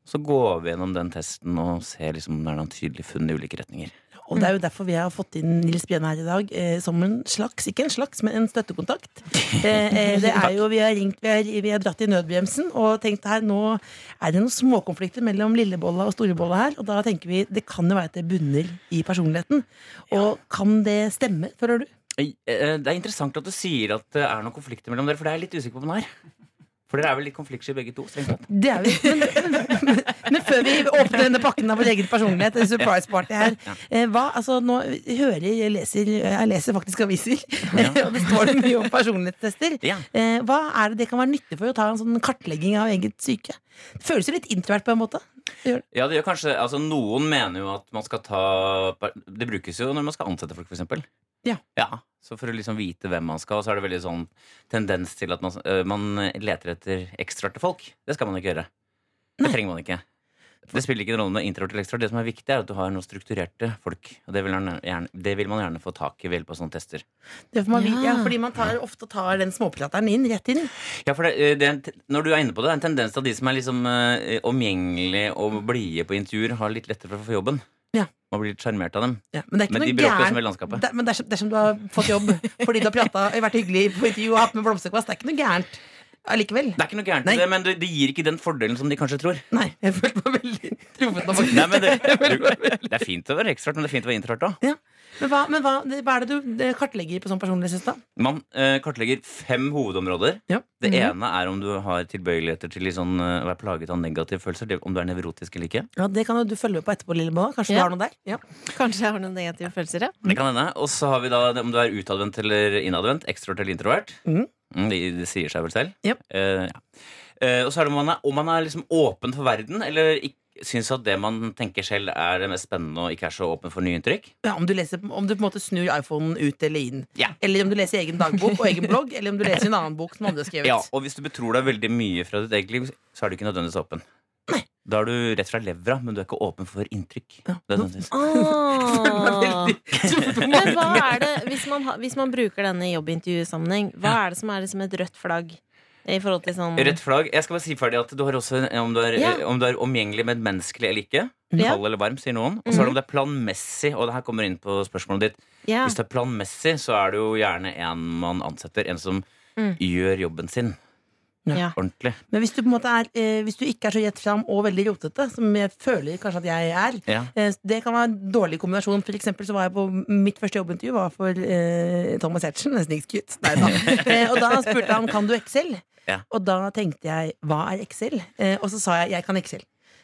Speaker 7: Så går vi gjennom den testen og ser liksom om det er noen tydelige funn i ulike retninger.
Speaker 4: Og det er jo derfor vi har fått inn Nils Bjørn her i dag eh, som en slags, ikke en slags, men en støttekontakt. Eh, eh, det er jo, vi har ringt, vi har, vi har dratt i nødbremsen og tenkt her, nå er det noen småkonflikter mellom lillebolla og storebolla her. Og da tenker vi, det kan jo være at det bunner i personligheten. Og kan det stemme, føler du?
Speaker 7: Eh, Det er interessant at du sier at det er noen konflikter mellom dere, for det er jeg litt usikker på om det er. For dere er vel litt konfliktsky begge to? strengt tatt.
Speaker 4: Det er vi. Men, men, men før vi åpner denne pakken av vår egen personlighet, en surprise party her eh, hva, altså, Nå hører jeg leser, jeg leser faktisk aviser, og det står mye om personlighetstester.
Speaker 7: Ja.
Speaker 4: Eh, Hva er det det kan være nyttig for å ta en sånn kartlegging av eget syke? Det føles jo litt introvert på en måte.
Speaker 7: Ja, det gjør kanskje, altså Noen mener jo at man skal ta per- Det brukes jo når man skal ansette folk, f.eks.
Speaker 4: Ja.
Speaker 7: ja. Så for å liksom vite hvem man skal, så er det veldig sånn tendens til at man, øh, man leter etter ekstraer til folk. Det skal man ikke gjøre. Det trenger man ikke. Det spiller ikke noen rolle med introvert eller ekstrovert. Det som er viktig, er at du har noen strukturerte folk. Og det vil, man gjerne, det vil man gjerne få tak i ved hjelp av sånne tester.
Speaker 4: Det er for man, vil-
Speaker 3: Ja.
Speaker 4: ja, fordi man tar, ofte tar den småprateren inn rett inn.
Speaker 7: Ja, for det, eh, det er en, te- Når du er inne på det, det er en tendens til at de som er liksom eh, omgjengelige og blide på intervjuer, har litt lettere for å få jobben.
Speaker 4: Ja.
Speaker 7: Man blir litt sjarmert av dem.
Speaker 4: Ja, men det er ikke
Speaker 7: Men de
Speaker 4: noe
Speaker 7: bråker
Speaker 4: gærent-
Speaker 7: som i landskapet.
Speaker 4: Det- Men dersom, dersom du har fått jobb fordi du har pratet, vært hyggelig på intervju og hatt med blomsterkvast, det er ikke noe gærent allikevel.
Speaker 7: Det er ikke noe gærent
Speaker 4: Nei.
Speaker 7: i det, men det, det gir ikke den fordelen som de kanskje tror.
Speaker 4: Nei, jeg følte meg veldig truffet nå, faktisk.
Speaker 7: Nei, men det, det er fint å være ekstrovert, men det er fint å være introvert òg.
Speaker 4: Ja. Men, hva, men hva, det, hva er det du det kartlegger på sånn personlighetstest, da?
Speaker 7: Man eh, kartlegger fem hovedområder.
Speaker 4: Ja.
Speaker 7: Det
Speaker 4: Mhm.
Speaker 7: ene er om du har tilbøyeligheter til litt sånn, eh, å være plaget av negative følelser. det- Om du er nevrotisk eller ikke.
Speaker 4: Ja, Det kan jo du følge med på etterpå, Lillebolla. Kanskje
Speaker 3: Ja.
Speaker 4: du har noe der? Ja.
Speaker 3: Kanskje jeg har noen negative følelser, ja.
Speaker 4: Mhm.
Speaker 7: Det kan hende. Og så har vi da det om du er utadvendt eller innadvendt. Ekstrovert eller introvert.
Speaker 4: Mhm.
Speaker 7: Mm, det, det sier seg vel selv.
Speaker 4: Yep.
Speaker 7: Eh, ja. Eh, og så er det om man er, om man er liksom åpen for verden, eller ikke, syns at det man tenker selv er det mest spennende, og ikke er så åpen for nye inntrykk.
Speaker 4: Ja, om, du leser, om du på en måte snur iPhonen ut eller inn.
Speaker 7: Ja.
Speaker 4: Eller om du leser egen dagbok og egen blogg, eller om du leser en annen bok som andre har skrevet.
Speaker 7: Ja, og hvis du betror deg veldig mye fra ditt eget liv, så er du ikke nødvendigvis åpen. Da er du rett fra levra, men du er ikke åpen for inntrykk. Det er nødvendigvis-
Speaker 3: Ah. Men hva er det, hvis man, har- hvis man bruker denne i jobbintervjusammenheng, hva er det som er liksom et rødt flagg? I forhold til sånn
Speaker 7: Rødt flagg. Jeg skal bare si ferdig at du har også en- om du er,
Speaker 3: Ja.
Speaker 7: om du er omgjengelig med menneskelig eller ikke.
Speaker 3: Ja. Mhm.
Speaker 7: Kald eller varm, sier noen. Og så er det om det er planmessig, og det her kommer inn på spørsmålet ditt.
Speaker 3: Ja.
Speaker 7: Hvis det er planmessig, så er det jo gjerne en man ansetter. En som
Speaker 3: Mm.
Speaker 7: gjør jobben sin
Speaker 3: Ja.
Speaker 7: ordentlig.
Speaker 4: Men hvis du, på en måte er, eh, hvis du ikke er så rett fram og veldig rotete, som jeg føler kanskje at jeg er,
Speaker 7: Ja.
Speaker 4: eh, det kan være en dårlig kombinasjon. For eksempel så var jeg på mitt første jobbintervju var for eh, Thomas Hertzen, en snikskryt. Nei da. eh, og da spurte han kan du Excel.
Speaker 7: Ja.
Speaker 4: Og da tenkte jeg hva er Excel? Eh, og så sa jeg jeg kan Excel.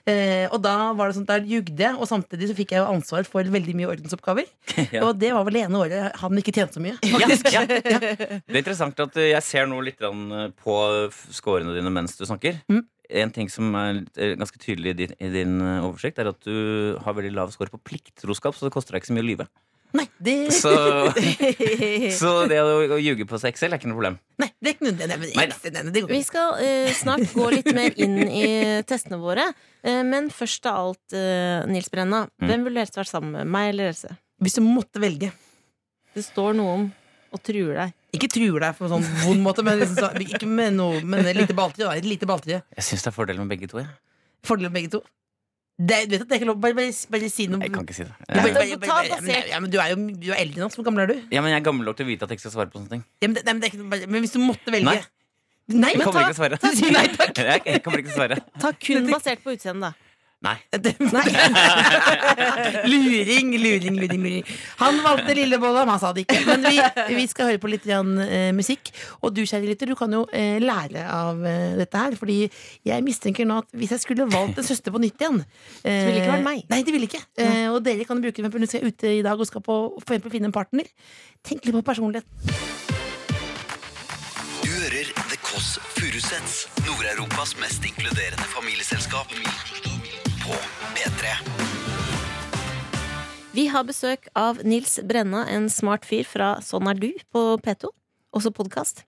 Speaker 4: Eh, og da var det sånn, der jugde jeg, og samtidig så fikk jeg jo ansvar for veldig mye ordensoppgaver.
Speaker 7: Ja.
Speaker 4: Og det var vel det ene året han ikke tjente så mye.
Speaker 7: Ja, ja. Det er interessant at eh, jeg ser nå litt grann, eh, på f- scorene dine mens du snakker.
Speaker 4: Mm.
Speaker 7: En ting som er litt- eh, ganske tydelig i din, i din eh, oversikt, er at du har veldig lav score på plikttroskap, så det koster deg ikke så mye å lyve.
Speaker 4: Nei, det,
Speaker 7: Så, så det å, å ljuge på seg Excel er ikke noe problem.
Speaker 4: nei, det er ikke noe nei, men
Speaker 7: Nei da.
Speaker 4: Excel, nei, nei, det går
Speaker 3: Vi
Speaker 4: ikke.
Speaker 3: skal eh, snart gå litt mer inn i testene våre. Eh, men først av alt, eh, Nils Brenna,
Speaker 7: Mm.
Speaker 3: hvem ville dere vært sammen med? Meg eller Else?
Speaker 4: Hvis du måtte velge
Speaker 3: Det står noe om og truer deg.
Speaker 4: Ikke truer deg på en sånn vond måte, men liksom så, ikke med noe Men et lite balltre. da, Et lite balltre.
Speaker 7: Jeg syns det er fordel med begge to. Jeg,
Speaker 4: Fordel med begge to. Det, du vet at det er ikke lov Bare, bare, bare si noe.
Speaker 7: jeg kan ikke si det.
Speaker 4: Ja,
Speaker 7: Eh,
Speaker 4: men-
Speaker 3: Ta- ta
Speaker 4: ja, men-
Speaker 3: basert.
Speaker 4: ja, men du er jo du er eldre nå. Hvor gammel er du?
Speaker 7: Ja, men Jeg er gammel nok til å vite at jeg ikke skal svare på sånne ting.
Speaker 4: Ja, men, det, nei, men, det er ikke, noe- bare, men hvis du måtte velge
Speaker 7: Nei.
Speaker 4: Nei,
Speaker 7: Jeg
Speaker 4: men
Speaker 7: kommer
Speaker 4: ta
Speaker 7: ikke til å svare.
Speaker 4: Si nei takk.
Speaker 7: Jeg, jeg kommer ikke til å svare.
Speaker 3: Ta kun basert på utseendet, da.
Speaker 7: Nei.
Speaker 4: Det- luring, luring, luring, luring. Han valgte lillebolla, men han sa det ikke. Men vi, vi skal høre på litt grann, eh, musikk. Og du, kjære lytter, du kan jo eh, lære av eh, dette her. Fordi jeg mistenker nå at hvis jeg skulle valgt en søster på nytt igjen eh,
Speaker 3: Så ville det ikke vært meg.
Speaker 4: Nei, det ville ikke. Eh, og dere kan bruke det når dere er ute i dag og skal på, for eksempel finne en partner. Tenk litt på personlighet.
Speaker 2: Du hører The Kåss Furuseths, Nord-Europas mest inkluderende familieselskap. På P3.
Speaker 3: Vi har besøk av Nils Brenna, en smart fyr fra Sånn er du på P2, også podkast.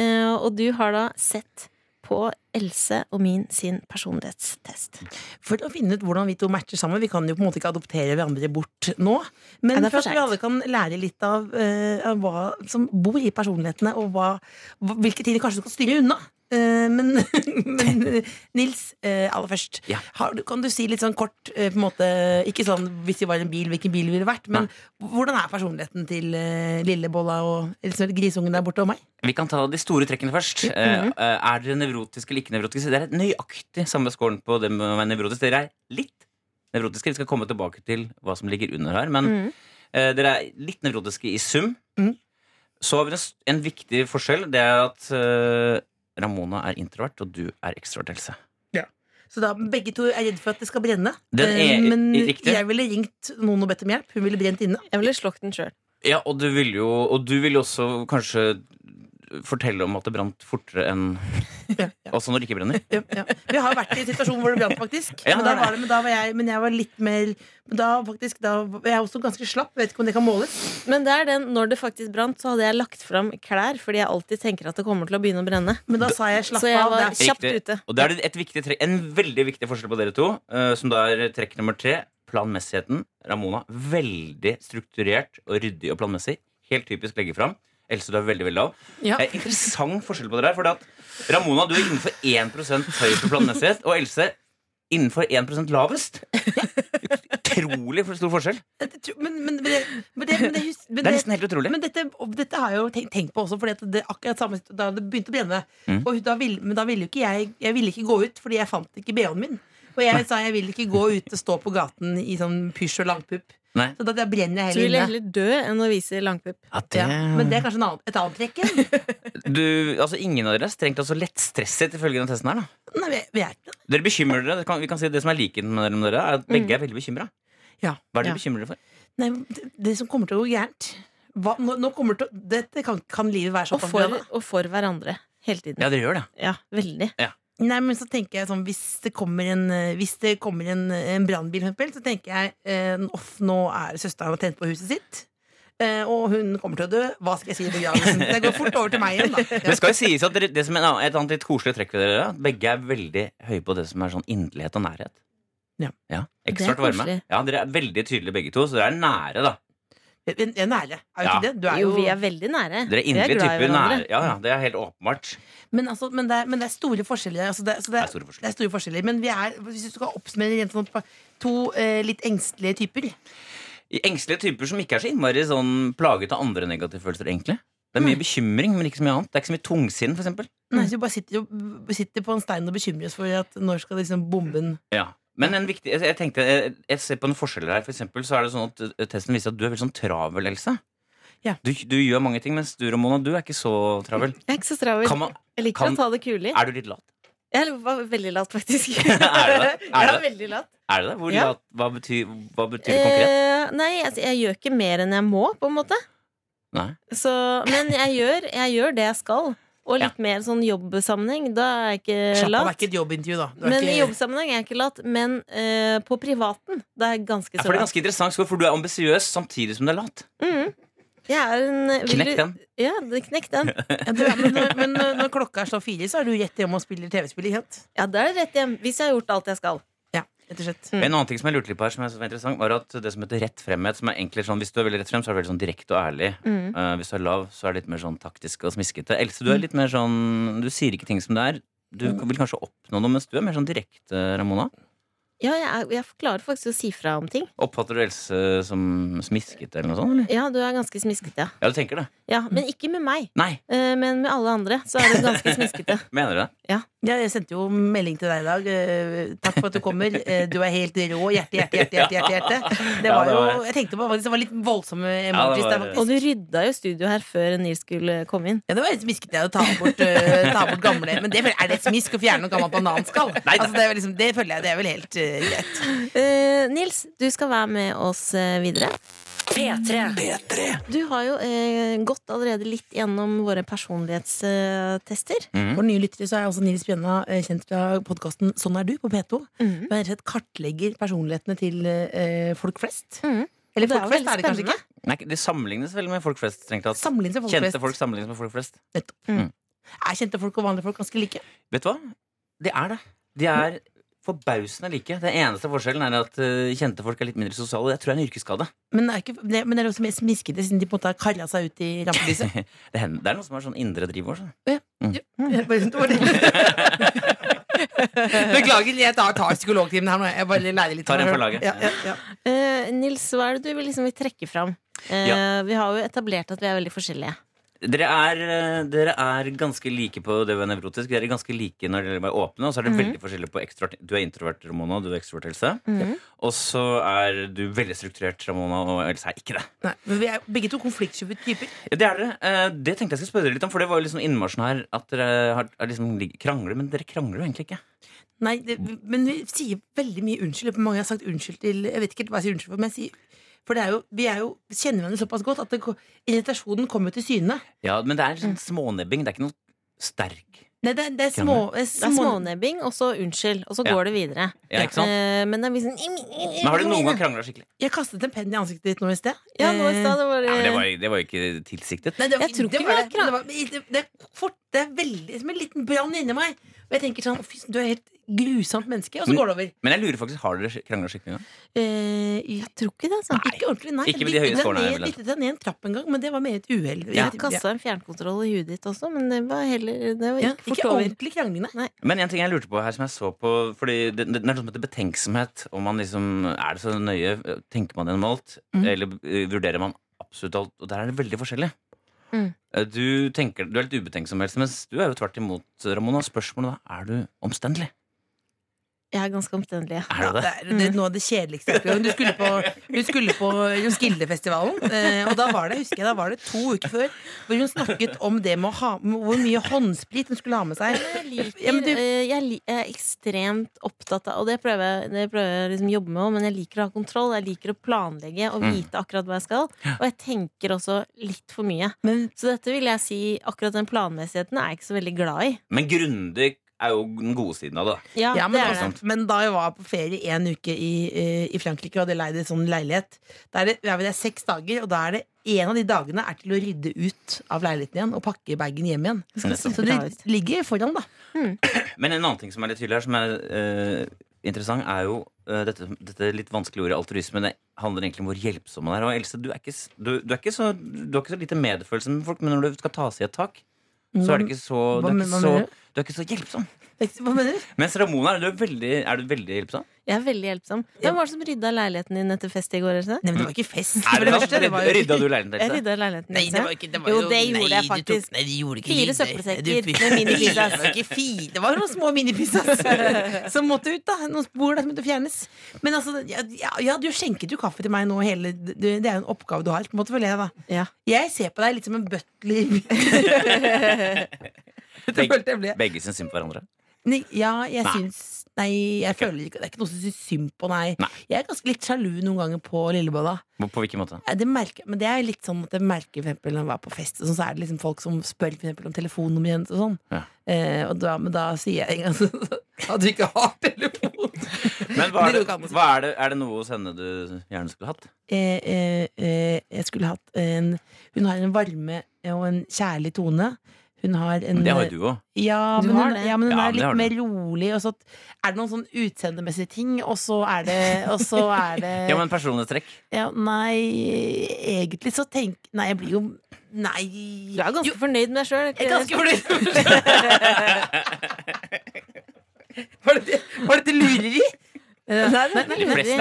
Speaker 3: Og du har da sett på Else og min sin personlighetstest.
Speaker 4: For å finne ut hvordan vi to matcher sammen. Vi kan jo på en måte ikke adoptere hverandre bort nå. Men
Speaker 3: Nei, det er for
Speaker 4: for at vi
Speaker 3: sent.
Speaker 4: alle kan lære litt av, eh, av hva som bor i personlighetene, og hva, hva, hvilke ting vi kanskje skal styre unna. Eh, men, men eh, Nils, eh, aller først.
Speaker 7: Ja.
Speaker 4: Har, du- kan du si litt sånn kort, eh, på en måte, ikke sånn hvis vi var i en bil, hvilken bil ville det vært, men hvordan er personligheten til eh, Lillebolla og eller sånn, grisungen der borte og meg?
Speaker 7: Vi kan ta de store trekkene først. Eh,
Speaker 4: mm-hmm.
Speaker 7: eh, Er dere nevrotiske eller ikke nevrotiske? Dere er nøyaktig samme skåren på det med å være nevrotisk. Dere er litt nevrotiske. Vi skal komme tilbake til hva som ligger under her. Men
Speaker 4: Mm.
Speaker 7: eh, dere er litt nevrotiske i sum.
Speaker 4: Mhm.
Speaker 7: Så har vi en, s- en viktig forskjell. Det er at eh, Ramona er introvert, og du er ekstrovert, Else.
Speaker 4: Så da begge to er redd for at det skal brenne.
Speaker 7: Den
Speaker 4: Eh,
Speaker 7: er-
Speaker 4: men
Speaker 7: riktig.
Speaker 4: jeg ville ringt noen og bedt om hjelp. Hun ville brent inne.
Speaker 3: Jeg ville slått den sjøl.
Speaker 7: Ja, og du vil jo, og du vil jo også kanskje fortelle om at det brant fortere enn
Speaker 4: Ja, ja.
Speaker 7: Altså når det ikke brenner.
Speaker 4: Ja, ja. Vi har jo vært i en situasjon hvor det brant, faktisk.
Speaker 7: Ja,
Speaker 4: men, da
Speaker 7: det er
Speaker 4: var det, men, da var jeg, men jeg var litt mer men da, faktisk, da, var- Jeg er også ganske slapp. Vet ikke om det kan måles.
Speaker 3: Men det er den, når det faktisk brant, så hadde jeg lagt fram klær fordi jeg alltid tenker at det kommer til å begynne å brenne.
Speaker 4: Men da sa jeg 'slapp
Speaker 3: Så jeg
Speaker 4: av'.
Speaker 3: var
Speaker 4: Det er-
Speaker 3: kjapt
Speaker 7: Riktig.
Speaker 3: ute.
Speaker 7: Og det er et viktig trekk, en veldig viktig forskjell på dere to, eh, som da er trekk nummer tre. Planmessigheten. Ramona, veldig strukturert og ryddig og planmessig. Helt typisk legge fram. Else, du er veldig, veldig lav.
Speaker 4: Ja.
Speaker 7: Det er interessant forskjell på dere her, for at Ramona, du er innenfor 1 høy på planmessighet, og Else innenfor 1 lavest. Utrolig for stor forskjell.
Speaker 4: det tror- Men, men, men, det, men, det, men, det, hus- men,
Speaker 7: Det er
Speaker 4: det,
Speaker 7: nesten helt utrolig.
Speaker 4: men dette, og dette har jeg jo tenkt, tenkt på også, Fordi at det er akkurat samme situ- da det begynte å brenne.
Speaker 7: Mm.
Speaker 4: Og da ville, men da ville jo ikke jeg Jeg ville ikke gå ut, fordi jeg fant ikke BH-en min. Og jeg sa jeg ville ikke gå ut og stå på gaten i sånn pysj og langpupp.
Speaker 7: Nei.
Speaker 4: Så da da brenner jeg
Speaker 3: Så ville
Speaker 4: hele
Speaker 3: jeg heller
Speaker 4: inne.
Speaker 3: dø enn å vise langpupp.
Speaker 7: Ja,
Speaker 4: Ja, men det er kanskje en annen, et annet trekk. eller?
Speaker 7: du, altså Ingen av dere er strengt altså lettstresset ifølge den testen her. da
Speaker 4: Nei, vi, vi er ikke det.
Speaker 7: Dere bekymrer dere. Det kan, vi kan si det som er likheten mellom dere, er at
Speaker 3: Mm.
Speaker 7: begge er veldig bekymra.
Speaker 4: Ja.
Speaker 7: Hva er
Speaker 4: Ja.
Speaker 7: dere bekymret for?
Speaker 4: Nei, det, det som kommer til å gå gærent hva, nå, nå kommer det til å Dette kan, kan livet være
Speaker 3: Og
Speaker 4: såpass
Speaker 3: for,
Speaker 4: bra, da?
Speaker 3: og for hverandre. Hele tiden.
Speaker 7: Ja, dere gjør det.
Speaker 3: Ja, veldig.
Speaker 4: Nei, men så tenker jeg sånn Hvis det kommer en, eh, hvis det kommer en, en brannbil, for eksempel, så tenker jeg eh, Off, nå er søsteren og tent på huset sitt. eh, Og hun kommer til å dø. Hva skal jeg si i begravelsen? Det går fort over til meg igjen, da.
Speaker 7: Det skal jo sies at dere, det som er en annen- Et annet litt koselig trekk ved dere er at begge er veldig høye på det som er sånn inderlighet og nærhet.
Speaker 4: Ja.
Speaker 7: Ekstra
Speaker 3: Det er
Speaker 7: varme.
Speaker 3: koselig.
Speaker 7: Ja, Dere er veldig tydelige begge to, så dere er nære. da
Speaker 4: Jeg jeg er nære. Er jo
Speaker 7: Ja.
Speaker 4: ikke det? Du er
Speaker 3: Jo,
Speaker 4: jo,
Speaker 3: vi er veldig nære.
Speaker 7: Dere er
Speaker 3: Vi er
Speaker 7: inderlige
Speaker 3: glad i
Speaker 7: typer.
Speaker 3: hverandre.
Speaker 7: Nære. Ja, ja, Det er helt åpenbart.
Speaker 4: men, altså, men, det er, men det er store forskjeller. Altså det, så det,
Speaker 7: Det er store
Speaker 4: det
Speaker 7: forskjeller.
Speaker 4: er store forskjeller. Men vi er, hvis du skal oppsummere rent sånn på to eh, litt engstelige typer
Speaker 7: Engstelige typer som ikke er så innmari sånn plaget av andre negative følelser, egentlig. Det er
Speaker 3: Mm.
Speaker 7: mye bekymring, men ikke så mye annet. Det er ikke så mye tungsinn, for eksempel.
Speaker 4: Nei, så vi bare sitter, og, sitter på en stein og bekymrer oss for at når skal liksom bomben
Speaker 7: Ja. Men en viktig, jeg, jeg tenkte, jeg, jeg ser på noen forskjeller her. For eksempel, så er det sånn at eh, Testen viser at du er veldig sånn travel, Else.
Speaker 4: Ja.
Speaker 7: Du, du gjør mange ting, mens du, Ramona, du er ikke så travel.
Speaker 3: Jeg er ikke så travel.
Speaker 7: Kan man,
Speaker 3: jeg liker
Speaker 7: kan-
Speaker 3: å ta det kule i.
Speaker 7: er du litt lat?
Speaker 3: Jeg var veldig lat, faktisk.
Speaker 7: Er du det? Er
Speaker 3: ja,
Speaker 7: du
Speaker 3: veldig lat.
Speaker 7: Er det det? Hvor
Speaker 3: Ja.
Speaker 7: lat? Hva betyr, hva betyr det konkret?
Speaker 3: Eh, nei, jeg, jeg gjør ikke mer enn jeg må, på en måte.
Speaker 7: Nei.
Speaker 3: Så, men jeg gjør, jeg gjør det jeg skal. Og
Speaker 7: Ja.
Speaker 3: litt mer sånn jobbsammenheng. Da er jeg ikke
Speaker 4: Slapp av, det er
Speaker 3: lat.
Speaker 4: ikke et jobbintervju, da. Du er
Speaker 3: Men
Speaker 4: ikke,
Speaker 3: i jobbsammenheng er jeg ikke lat. Men eh, på privaten, da er jeg ganske
Speaker 7: Ja,
Speaker 3: så
Speaker 7: for det er
Speaker 3: lat.
Speaker 7: ganske interessant, Skår, for du er ambisiøs samtidig som du er lat.
Speaker 3: Mhm. Jeg er en vil
Speaker 7: Knekk
Speaker 3: du-
Speaker 7: den.
Speaker 3: Ja, det- knekk den.
Speaker 4: Ja, du er- men, når, men når når klokka slår fire, så er du rett hjemme og spiller TV-spill. ikke sant?
Speaker 3: Ja, da er det rett hjem. Hvis jeg har gjort alt jeg skal.
Speaker 4: Ja, rett og slett.
Speaker 7: En annen ting som jeg lurte litt på her, som jeg synes var interessant, var at det som heter rett fremhet, som er egentlig sånn, hvis du er veldig rett frem, så er du veldig sånn direkte og ærlig.
Speaker 4: Mm.
Speaker 3: Mhm.
Speaker 7: Eh, hvis du er lav, så er det litt mer sånn taktisk og smiskete. Else, du er litt mer sånn Du sier ikke ting som det er. Du
Speaker 4: Mm.
Speaker 7: vil kanskje oppnå noe, mens du er mer sånn direkte, Ramona.
Speaker 3: Ja, jeg, er, jeg klarer faktisk å si fra om ting.
Speaker 7: Oppfatter du Else som smiskete eller noe sånt? Eller?
Speaker 3: Ja, du er ganske smiskete, ja.
Speaker 7: Ja, du tenker det?
Speaker 3: ja men ikke med meg.
Speaker 7: Nei,
Speaker 3: Eh, Men med alle andre så er du ganske smiskete.
Speaker 7: mener du det?
Speaker 4: Ja, jeg sendte jo melding til deg i dag. eh, Takk for at du kommer. Eh, Du er helt rå. Hjerte, hjerte, hjerte. hjerte, hjerte, hjerte. Det
Speaker 7: Ja,
Speaker 4: var
Speaker 7: det var
Speaker 4: jo, jeg tenkte på faktisk, det var litt voldsomme emojis
Speaker 7: Ja, det
Speaker 4: der,
Speaker 7: var-
Speaker 4: faktisk.
Speaker 3: Og du rydda jo studio her før Nils skulle komme inn.
Speaker 4: Ja, det var litt smisket jeg å ta bort, eh, ta bort gamle Men det, er det et smisk å fjerne noe gammelt bananskall? Altså, det, er jo liksom, det føler jeg det er vel helt eh, greit.
Speaker 3: Eh, Nils, du skal være med oss eh, videre.
Speaker 1: P3.
Speaker 3: Du har jo eh, gått allerede litt gjennom våre personlighetstester.
Speaker 7: Mm.
Speaker 4: For nye lyttere så er også Nils Bjønna eh, kjent fra podkasten Sånn er du på P2.
Speaker 7: Mhm.
Speaker 4: Mm. rett og slett kartlegger personlighetene til eh, folk flest.
Speaker 7: Mm.
Speaker 3: Mhm.
Speaker 4: Eller
Speaker 3: Det er
Speaker 4: folk
Speaker 3: jo
Speaker 4: flest
Speaker 3: veldig
Speaker 4: er det kanskje ikke.
Speaker 7: Nei, det sammenlignes veldig med folk flest, strengt tatt.
Speaker 4: Sammenlignes med folk
Speaker 7: Kjente
Speaker 4: flest.
Speaker 7: folk sammenlignes med folk flest.
Speaker 4: Nettopp. Er kjente folk og vanlige folk ganske like?
Speaker 7: Vet du hva? Det er det. De er forbausende like. Den eneste forskjellen er at eh, kjente folk er litt mindre sosiale. Det tror jeg er en yrkesskade.
Speaker 4: Men det er, ikke, det, men det er også mer smiskete, siden de på en måte har kalla seg ut i rampelyset.
Speaker 7: Det, hender, det er noe som er sånn indre driv også.
Speaker 4: Jeg bare- det var det. Beklager, jeg tar, tar psykologtimen her nå. Jeg bare lærer litt.
Speaker 7: Tar en for laget.
Speaker 4: Ja, ja, ja.
Speaker 3: Eh, Nils, hva er det du vil liksom vil trekke fram? Eh,
Speaker 7: Ja.
Speaker 3: Vi har jo etablert at vi er veldig forskjellige.
Speaker 7: Dere er, eh, dere er ganske like på det å være nevrotisk. Dere er ganske like når dere er åpne. Og så er det veldig forskjellig på ekstrovert. Du er introvert, Ramona, og du er ekstrovert, Else. Og så er du veldig strukturert, Ramona, og Else er ikke det.
Speaker 4: Nei, men vi er begge to konfliktsky typer.
Speaker 7: Ja, det er dere. Eh, Det tenkte jeg skulle spørre dere litt om, for det var jo liksom innmarsjen her. At dere har, er liksom lig- krangler, men dere krangler jo egentlig ikke.
Speaker 4: Nei, det, men vi sier veldig mye unnskyld. Mange har sagt unnskyld til Jeg vet ikke helt hva jeg sier unnskyld for, men jeg sier For det er jo, vi er jo, kjenner hverandre såpass godt at det, ko- irritasjonen kommer til syne.
Speaker 7: Ja, Men det er sånn smånebbing. Det er ikke noe sterk
Speaker 4: Nei, det, er- det er små, det er
Speaker 3: Det er
Speaker 4: små
Speaker 3: smånebbing, og så unnskyld. Og så
Speaker 7: Ja.
Speaker 3: går det videre.
Speaker 7: Ja, ikke sant?
Speaker 3: Eh, men det er liksom
Speaker 7: Men har dere noen gang krangla skikkelig?
Speaker 4: Jeg kastet en penn i ansiktet ditt nå i sted. Eh,
Speaker 3: Ja, nå i stad. Det var,
Speaker 7: Ja, men det, var, det var jo ikke tilsiktet.
Speaker 4: Nei, det var,
Speaker 3: Jeg tror
Speaker 4: det
Speaker 3: ikke
Speaker 4: var
Speaker 3: vi
Speaker 4: det.
Speaker 3: har
Speaker 4: Det, var, det, det, er fort, det er veldig som en liten brann inni meg. Og jeg tenker sånn, fy, du er helt grusomt menneske. Og så
Speaker 7: Men-
Speaker 4: går det over.
Speaker 7: Men jeg lurer faktisk, har dere krangla skikkelig? nå?
Speaker 4: Eh,
Speaker 3: jeg tror ikke det. Altså.
Speaker 4: ikke ordentlig, nei.
Speaker 7: Ikke med de høye
Speaker 4: Dyttet den
Speaker 7: skårene her,
Speaker 4: ned-
Speaker 7: vel?
Speaker 4: dyttet den ned en trapp en gang, men det var med et uhell.
Speaker 3: Jeg har kasta en fjernkontroll i huet ditt også, men det var heller det var
Speaker 4: Ja,
Speaker 3: ikke fort
Speaker 4: ikke
Speaker 3: over.
Speaker 4: ordentlig krangling, nei.
Speaker 7: Men en ting jeg lurte på her som jeg så på Fordi det, det, det er noe som heter betenksomhet Om man liksom, er det så nøye eh, Tenker man gjennom alt Eller eh, vurderer man absolutt alt Og der er det veldig forskjellig
Speaker 3: Mm.
Speaker 7: Eh, du, tenker, du er litt ubetenksom helst Mens du er jo tvert imot Ramona Spørsmålet da, er du omstendelig?
Speaker 3: Jeg er ganske omstendelig. ja.
Speaker 7: Er du det?
Speaker 4: Det er, det er noe av det kjedeligste jeg har opplevd. Du skulle på, du skulle på Jonskildefestivalen, eh, og da var det husker jeg, da var det to uker før hvor hun snakket om det med å ha, med hvor mye håndsprit hun skulle ha med seg.
Speaker 3: Jeg, liker,
Speaker 4: Ja, men du-
Speaker 3: eh, jeg li- jeg er ekstremt opptatt av Og det prøver jeg, det prøver jeg liksom å jobbe med også, men jeg liker å ha kontroll. Jeg liker å planlegge og
Speaker 7: Mm.
Speaker 3: vite akkurat hva jeg skal. Og jeg tenker også litt for mye.
Speaker 4: Men
Speaker 3: Så dette vil jeg si, akkurat den planmessigheten er jeg ikke så veldig glad i.
Speaker 7: Men grundig er jo den gode siden av det
Speaker 3: Ja,
Speaker 4: Ja, men, altså-
Speaker 3: det er
Speaker 4: da-
Speaker 3: det.
Speaker 4: men da jeg var på ferie en uke i, eh, i Frankrike og hadde leid en sånn leilighet Da er det, ja, men det er seks dager, og da er det en av de dagene er til å rydde ut av leiligheten igjen og pakke bagen hjem igjen.
Speaker 7: Nettopp.
Speaker 4: Så
Speaker 3: bra ut.
Speaker 4: det ligger foran, da.
Speaker 7: Men en annen ting som er litt tydelig her, som er eh, interessant, er jo eh, dette, dette litt vanskelige ordet altruisme. Det handler egentlig om hvor hjelpsom man er. Og Else, du, er ikke, s- du, du, er ikke så, du har ikke så lite medfølelse med folk, men når du skal tas i et tak, så er det ikke så Du
Speaker 4: Hva
Speaker 7: er
Speaker 4: men-
Speaker 7: ikke
Speaker 4: hva
Speaker 7: så,
Speaker 4: mener du?
Speaker 7: du er ikke så hjelpsom.
Speaker 4: Hva mener du?
Speaker 7: Mens Ramona, er du veldig, er du veldig hjelpsom?
Speaker 3: Jeg er veldig hjelpsom. Hvem var det som rydda leiligheten din etter fest i går? Else?
Speaker 4: Nei, men det var ikke fest.
Speaker 7: Er
Speaker 4: for
Speaker 7: du
Speaker 4: det første, det var jo-
Speaker 7: Rydda du leiligheten
Speaker 3: Jeg
Speaker 7: Else?
Speaker 3: rydda leiligheten
Speaker 4: Nei,
Speaker 3: din,
Speaker 4: det
Speaker 3: sa
Speaker 4: var
Speaker 3: jeg.
Speaker 4: ikke, det var
Speaker 3: Jo,
Speaker 4: jo,
Speaker 3: det gjorde
Speaker 4: nei,
Speaker 3: jeg
Speaker 4: du
Speaker 3: faktisk.
Speaker 4: Tok, nei, du gjorde ikke
Speaker 3: Fire
Speaker 4: det.
Speaker 3: søppelsekker
Speaker 4: Nei, du-
Speaker 3: med minipizzas.
Speaker 4: Det var ikke fire, det var noen små minipizzas som måtte ut, da. Noen spor der som måtte fjernes. Men altså, ja, ja, ja, du skjenket jo kaffe til meg nå hele du, Det er jo en oppgave du har, på en måte, føler jeg, da.
Speaker 3: Ja.
Speaker 4: Jeg ser på deg litt som en butler. det
Speaker 7: Begge,
Speaker 4: følte jeg ble.
Speaker 7: begge syns synd på hverandre.
Speaker 4: Nei, ja, jeg
Speaker 7: Nei.
Speaker 4: syns Nei, jeg føler ikke Det er ikke noe som syns synd på, nei.
Speaker 7: Nei.
Speaker 4: Jeg er ganske litt sjalu noen ganger på Lillebolla.
Speaker 7: På, på hvilken måte?
Speaker 4: Ja, Det merker, men det er jo litt sånn at jeg merker for eksempel når jeg var på fest, og sånn, så er det liksom folk som spør for eksempel om telefonnummeret hennes og sånn.
Speaker 7: Ja.
Speaker 4: Eh, og da, men da sier jeg en gang sånn at du ikke har telefon. Det
Speaker 7: Men hva er, det,
Speaker 4: går ikke an å si.
Speaker 7: hva er, det, er det noe hos henne du gjerne skulle hatt?
Speaker 4: Eh, eh, eh, jeg skulle hatt en Hun har en varme og en kjærlig tone. Hun har en
Speaker 7: Men det har jo du òg.
Speaker 4: Ja,
Speaker 3: Du
Speaker 4: men
Speaker 3: har
Speaker 4: hun,
Speaker 3: det.
Speaker 4: ja, men hun er
Speaker 7: Ja, men det har
Speaker 4: litt mer rolig. Og så er det noen sånn utseendemessige ting, og så er det, og så er det
Speaker 7: Ja, men personlighetstrekk.
Speaker 4: ja, Nei, egentlig så tenk Nei, jeg blir jo Nei.
Speaker 3: Du er ganske fornøyd med deg sjøl.
Speaker 4: Jeg er ganske fornøyd med det. Var det det- Var dette lureri?
Speaker 7: De fleste er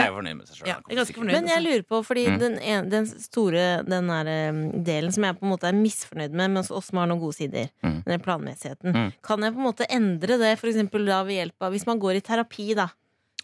Speaker 7: jo fornøyd med seg sjøl.
Speaker 4: Ja, jeg er ganske fornøyd. altså.
Speaker 3: Men jeg lurer på, fordi
Speaker 7: Mm.
Speaker 3: den, en, den store den der, eh, delen som jeg på en måte er misfornøyd med, men også oss som har noen gode sider,
Speaker 7: Mm.
Speaker 3: den planmessigheten,
Speaker 7: Mm.
Speaker 3: kan jeg på en måte endre det for eksempel da ved hjelp av Hvis man går i terapi, da,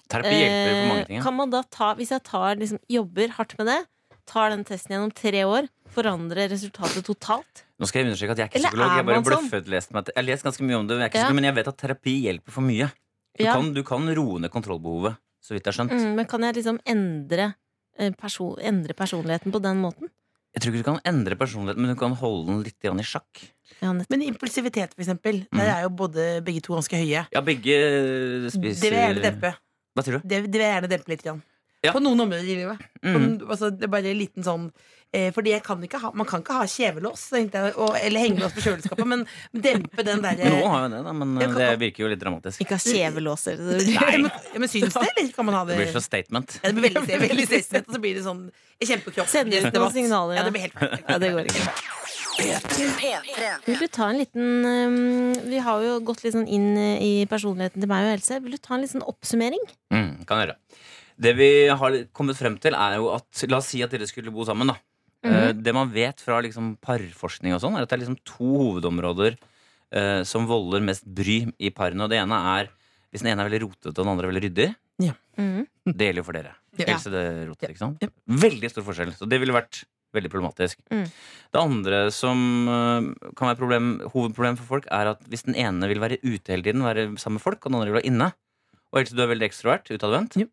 Speaker 7: Terapi hjelper på mange
Speaker 3: eh,
Speaker 7: ting. ja.
Speaker 3: kan man da ta Hvis jeg tar, liksom, jobber hardt med det, tar den testen gjennom tre år, forandrer resultatet totalt?
Speaker 7: Nå skal jeg understreke at jeg er ikke
Speaker 3: Eller
Speaker 7: psykolog.
Speaker 3: er
Speaker 7: Jeg bare
Speaker 3: man sånn?
Speaker 7: bløffet lest meg til- Jeg har lest ganske mye om det, men jeg, er ikke
Speaker 3: Ja.
Speaker 7: psykolog, men jeg vet at terapi hjelper for mye. Du,
Speaker 3: Ja.
Speaker 7: kan, du kan roe ned kontrollbehovet, så vidt jeg har skjønt.
Speaker 3: Mm, men kan jeg liksom endre, eh, perso- endre personligheten på den måten?
Speaker 7: Jeg tror ikke du kan endre personligheten, men du kan holde den litt grann i sjakk.
Speaker 3: Ja, nett-
Speaker 4: Men impulsivitet, for eksempel. Der
Speaker 7: Mm.
Speaker 4: er jo både, begge to ganske høye.
Speaker 7: Ja, begge
Speaker 4: Det
Speaker 7: spiser
Speaker 4: vil jeg gjerne dempe.
Speaker 7: Hva tror du?
Speaker 4: Det, det vil jeg gjerne dempe litt. Jan.
Speaker 7: Ja.
Speaker 4: På noen områder i livet.
Speaker 7: Mm.
Speaker 4: På- altså, det er bare en liten sånn eh, Fordi jeg kan ikke ha, man kan ikke ha kjevelås, tenkte jeg, og, eller hengelås på kjøleskapet, men dempe den eh, derre
Speaker 7: Noen har jo det, da, men
Speaker 4: Jeg kan-
Speaker 7: det virker jo litt dramatisk.
Speaker 3: Ikke ha kjevelåser.
Speaker 4: Ja, men- ja, Men syns det, eller kan man ha
Speaker 7: Det
Speaker 4: det?
Speaker 7: blir så statement.
Speaker 4: Ja, det blir veldig, veldig stressende, og så blir det sånn kjempekropp.
Speaker 3: Sender ut noen signaler,
Speaker 4: Ja,
Speaker 3: ja.
Speaker 4: det blir helt perfekt.
Speaker 3: Ja, det går ikke. Vil du ta en liten um, Vi har jo gått litt sånn inn eh, i personligheten til meg og Else. Vil du ta en liten sånn oppsummering?
Speaker 7: Mm, kan gjøre. Det vi har kommet frem til, er jo at La oss si at dere skulle bo sammen, da. Eh, Det man vet fra liksom parforskning og sånn, er at det er liksom to hovedområder eh, som volder mest bry i parene. Og det ene er hvis den ene er veldig rotete og den andre er veldig ryddig.
Speaker 3: Mhm.
Speaker 7: Det gjelder jo for dere.
Speaker 4: Ja.
Speaker 7: Else, det roter, ikke sant?
Speaker 4: Ja.
Speaker 7: Veldig stor forskjell. Så det ville vært veldig problematisk.
Speaker 3: Mm.
Speaker 7: Det andre som eh, kan være problem, hovedproblem for folk, er at hvis den ene vil være ute hele tiden, være sammen med folk, og den andre vil være inne Og Else, du er veldig ekstrovert, utadvendt.
Speaker 4: Ja.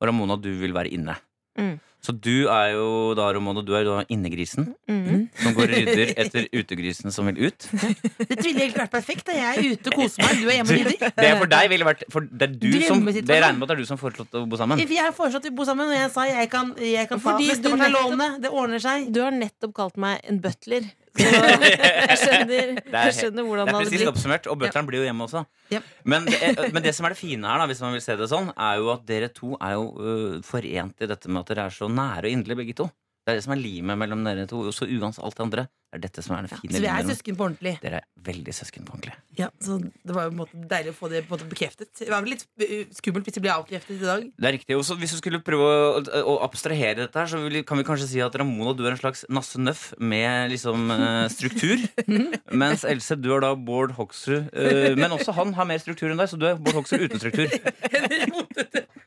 Speaker 7: Og Ramona, du vil være inne.
Speaker 3: Mm.
Speaker 7: Så du er jo da, Ramona, du er jo da innegrisen
Speaker 3: Mhm.
Speaker 7: som går og rydder etter utegrisen som vil ut.
Speaker 4: Dette ville egentlig vært perfekt. Da. Jeg er ute og koser meg, du er hjemme og rydder.
Speaker 7: Det er for deg ville vært for det, er du som, det
Speaker 4: Drømmesituasjon.
Speaker 7: regner med at det er du som har foreslått å bo sammen.
Speaker 4: Jeg har foreslått at vi bor sammen, og jeg sa jeg kan, jeg kan ta
Speaker 3: Fordi du
Speaker 4: besteparten av
Speaker 3: nettopp-
Speaker 4: lånet. Det ordner seg.
Speaker 3: Du har nettopp kalt meg en butler. Så jeg skjønner, jeg skjønner hvordan det
Speaker 7: Det er
Speaker 3: hadde
Speaker 7: presist
Speaker 3: blitt.
Speaker 7: oppsummert, og butleren blir jo hjemme også.
Speaker 4: Ja.
Speaker 7: Men, det er- men det som er det fine her, da, hvis man vil se det sånn, er jo at dere to er jo øh, forent i dette med at dere er så nære og inderlige, begge to. Det er det som er limet mellom dere to. Og så uansett alt det andre, det er dette som er det fine.
Speaker 4: Så vi er
Speaker 7: limet.
Speaker 4: søsken på ordentlig.
Speaker 7: Dere er veldig søsken på ordentlig.
Speaker 4: Ja, så Det var jo på en måte deilig å få det på en måte bekreftet. Det var vel litt eh, skummelt hvis det ble avkreftet i dag.
Speaker 7: Det er riktig. Og så hvis du skulle prøve å, å abstrahere dette her, så vil- kan vi kanskje si at Ramona, du er en slags Nasse Nøff med liksom eh, struktur. mens Else, du er da Bård Hoksrud. eh, men også han har mer struktur enn deg, så du er Bård Hoksrud uten struktur.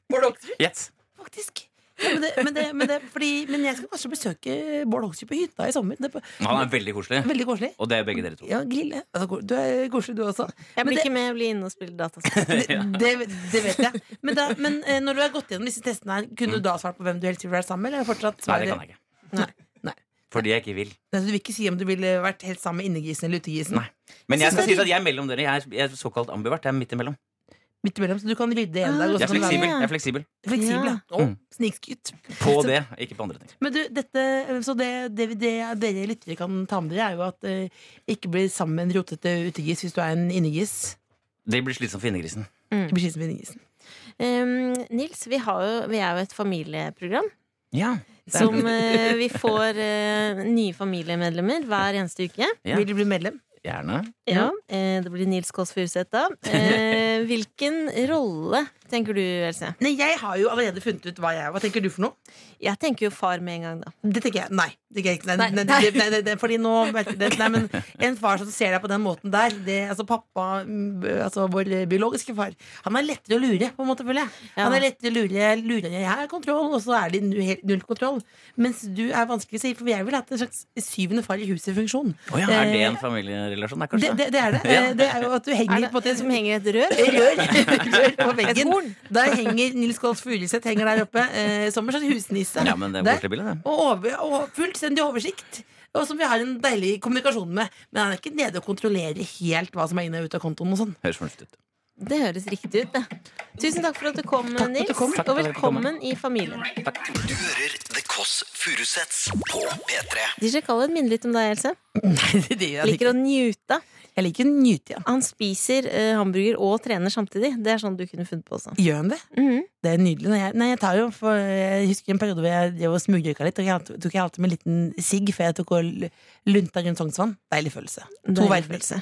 Speaker 4: Bård Hoksrud,
Speaker 7: Yes.
Speaker 4: faktisk. Ja, men, det, men, det, men, det, fordi, men jeg skal kanskje besøke Bård Hoksrud på hytta i sommer. Det er på-
Speaker 7: Han er veldig koselig.
Speaker 4: veldig koselig.
Speaker 7: Og det er begge dere to.
Speaker 4: Ja, grille. Altså, du er koselig, du også.
Speaker 3: Jeg
Speaker 4: Men
Speaker 3: blir
Speaker 4: det-
Speaker 3: ikke med, jeg blir inne og spiller dataspill.
Speaker 4: det, det, det vet jeg. Men, da, men eh, når du har gått gjennom disse testene, her kunne du da svart på hvem du helst vil være sammen med? Eller er det fortsatt
Speaker 7: Mm. Nei, det kan jeg ikke.
Speaker 4: Nei, nei.
Speaker 7: Fordi jeg ikke vil.
Speaker 4: Nei, så Du vil ikke si om du ville vært helt sammen med innegrisen eller utegrisen?
Speaker 7: Nei. Men jeg
Speaker 4: Synes
Speaker 7: skal
Speaker 4: det
Speaker 7: si
Speaker 4: er
Speaker 7: at jeg er mellom dere. Jeg er, jeg er såkalt ambivert. Jeg er midt imellom.
Speaker 4: Midt imellom, så du kan rydde en
Speaker 3: Ah,
Speaker 4: dag. Og
Speaker 7: Jeg
Speaker 4: så
Speaker 7: er
Speaker 4: kan du være
Speaker 7: fleksibel. Jeg er fleksibel.
Speaker 4: fleksibel ja. Å,
Speaker 7: Mm.
Speaker 4: Snikskutt.
Speaker 7: På det, ikke på andre ting.
Speaker 4: Men du, dette, eh, så det, det, det dere lyttere kan ta med dere, er jo at eh, ikke bli sammen med en rotete utegris hvis du er en innegris.
Speaker 7: Det blir slitsomt for innegrisen.
Speaker 4: Ikke bli skilt med innegrisen.
Speaker 3: Um, Nils, vi, har jo, vi er jo et familieprogram
Speaker 7: Ja. Det er
Speaker 3: som eh, vi får eh, nye familiemedlemmer hver eneste uke.
Speaker 7: Ja.
Speaker 4: Vil du bli medlem?
Speaker 7: Gjerne.
Speaker 3: Ja, eh, Det blir Nils Kåss Furuseth, da. Eh, hvilken rolle tenker du, Else?
Speaker 4: Nei, jeg har jo allerede funnet ut hva jeg er. Hva tenker du for noe?
Speaker 3: Jeg tenker jo far med en gang, da.
Speaker 4: Det tenker jeg, nei, det tenker jeg ikke. Nei,
Speaker 3: Nei,
Speaker 4: nei,
Speaker 3: nei.
Speaker 4: det- nei, det- det- Fordi nå merker jeg det. Nei, men En far som ser deg på den måten der det, altså Pappa, mm, b- altså vår biologiske far, han er lettere å lure, på en måte, føler jeg.
Speaker 3: Ja.
Speaker 4: Han er lettere å lure, lure jeg har kontroll, og så er de nu- helt null kontroll. Mens du er vanskelig å si, for jeg ville hatt en slags syvende far i huset funksjon.
Speaker 7: Å ja, er det en familierelasjon? Nei, kanskje.
Speaker 4: Eh, Det, det, det er det. Eh, Det er jo at du henger
Speaker 3: Er det
Speaker 4: på en måte
Speaker 3: som henger i et rør?
Speaker 4: rør, rør på
Speaker 3: Et horn?
Speaker 4: veggen. Der henger Nils Golf Furuseth henger der oppe eh, som en slags husnisse.
Speaker 7: Ja, men det er
Speaker 4: Der.
Speaker 7: koselig bilde, det.
Speaker 4: Og, over, og fullstendig oversikt. Og som vi har en deilig kommunikasjon med. Men han er ikke nede og kontrollerer helt hva som er inne og ute av kontoen. og sånn
Speaker 7: Høres fornuftig ut.
Speaker 3: Det høres riktig ut, det. Tusen takk for at du kom,
Speaker 4: at
Speaker 3: Nils.
Speaker 4: du kom.
Speaker 3: Og velkommen i familien.
Speaker 2: Du hører The Kåss Furuseths på P3.
Speaker 3: DJ Khaled minner litt om deg, Else.
Speaker 4: Nei, det gjør han
Speaker 3: Liker
Speaker 4: ikke.
Speaker 3: å njute.
Speaker 4: Jeg liker å nyte igjen.
Speaker 3: Han spiser eh, hamburger og trener samtidig. Det er sånn du kunne funnet på også.
Speaker 4: Gjør han det?
Speaker 3: Mhm.
Speaker 4: Det er nydelig. Nei, jeg, nei, jeg, tar jo for, jeg husker en periode hvor jeg drev og smugrøyka litt. Og jeg tok- tok jeg alltid med en liten sigg før jeg tok og l- lunta rundt Sognsvann. Deilig følelse. To
Speaker 3: Deilig
Speaker 4: veifølelse.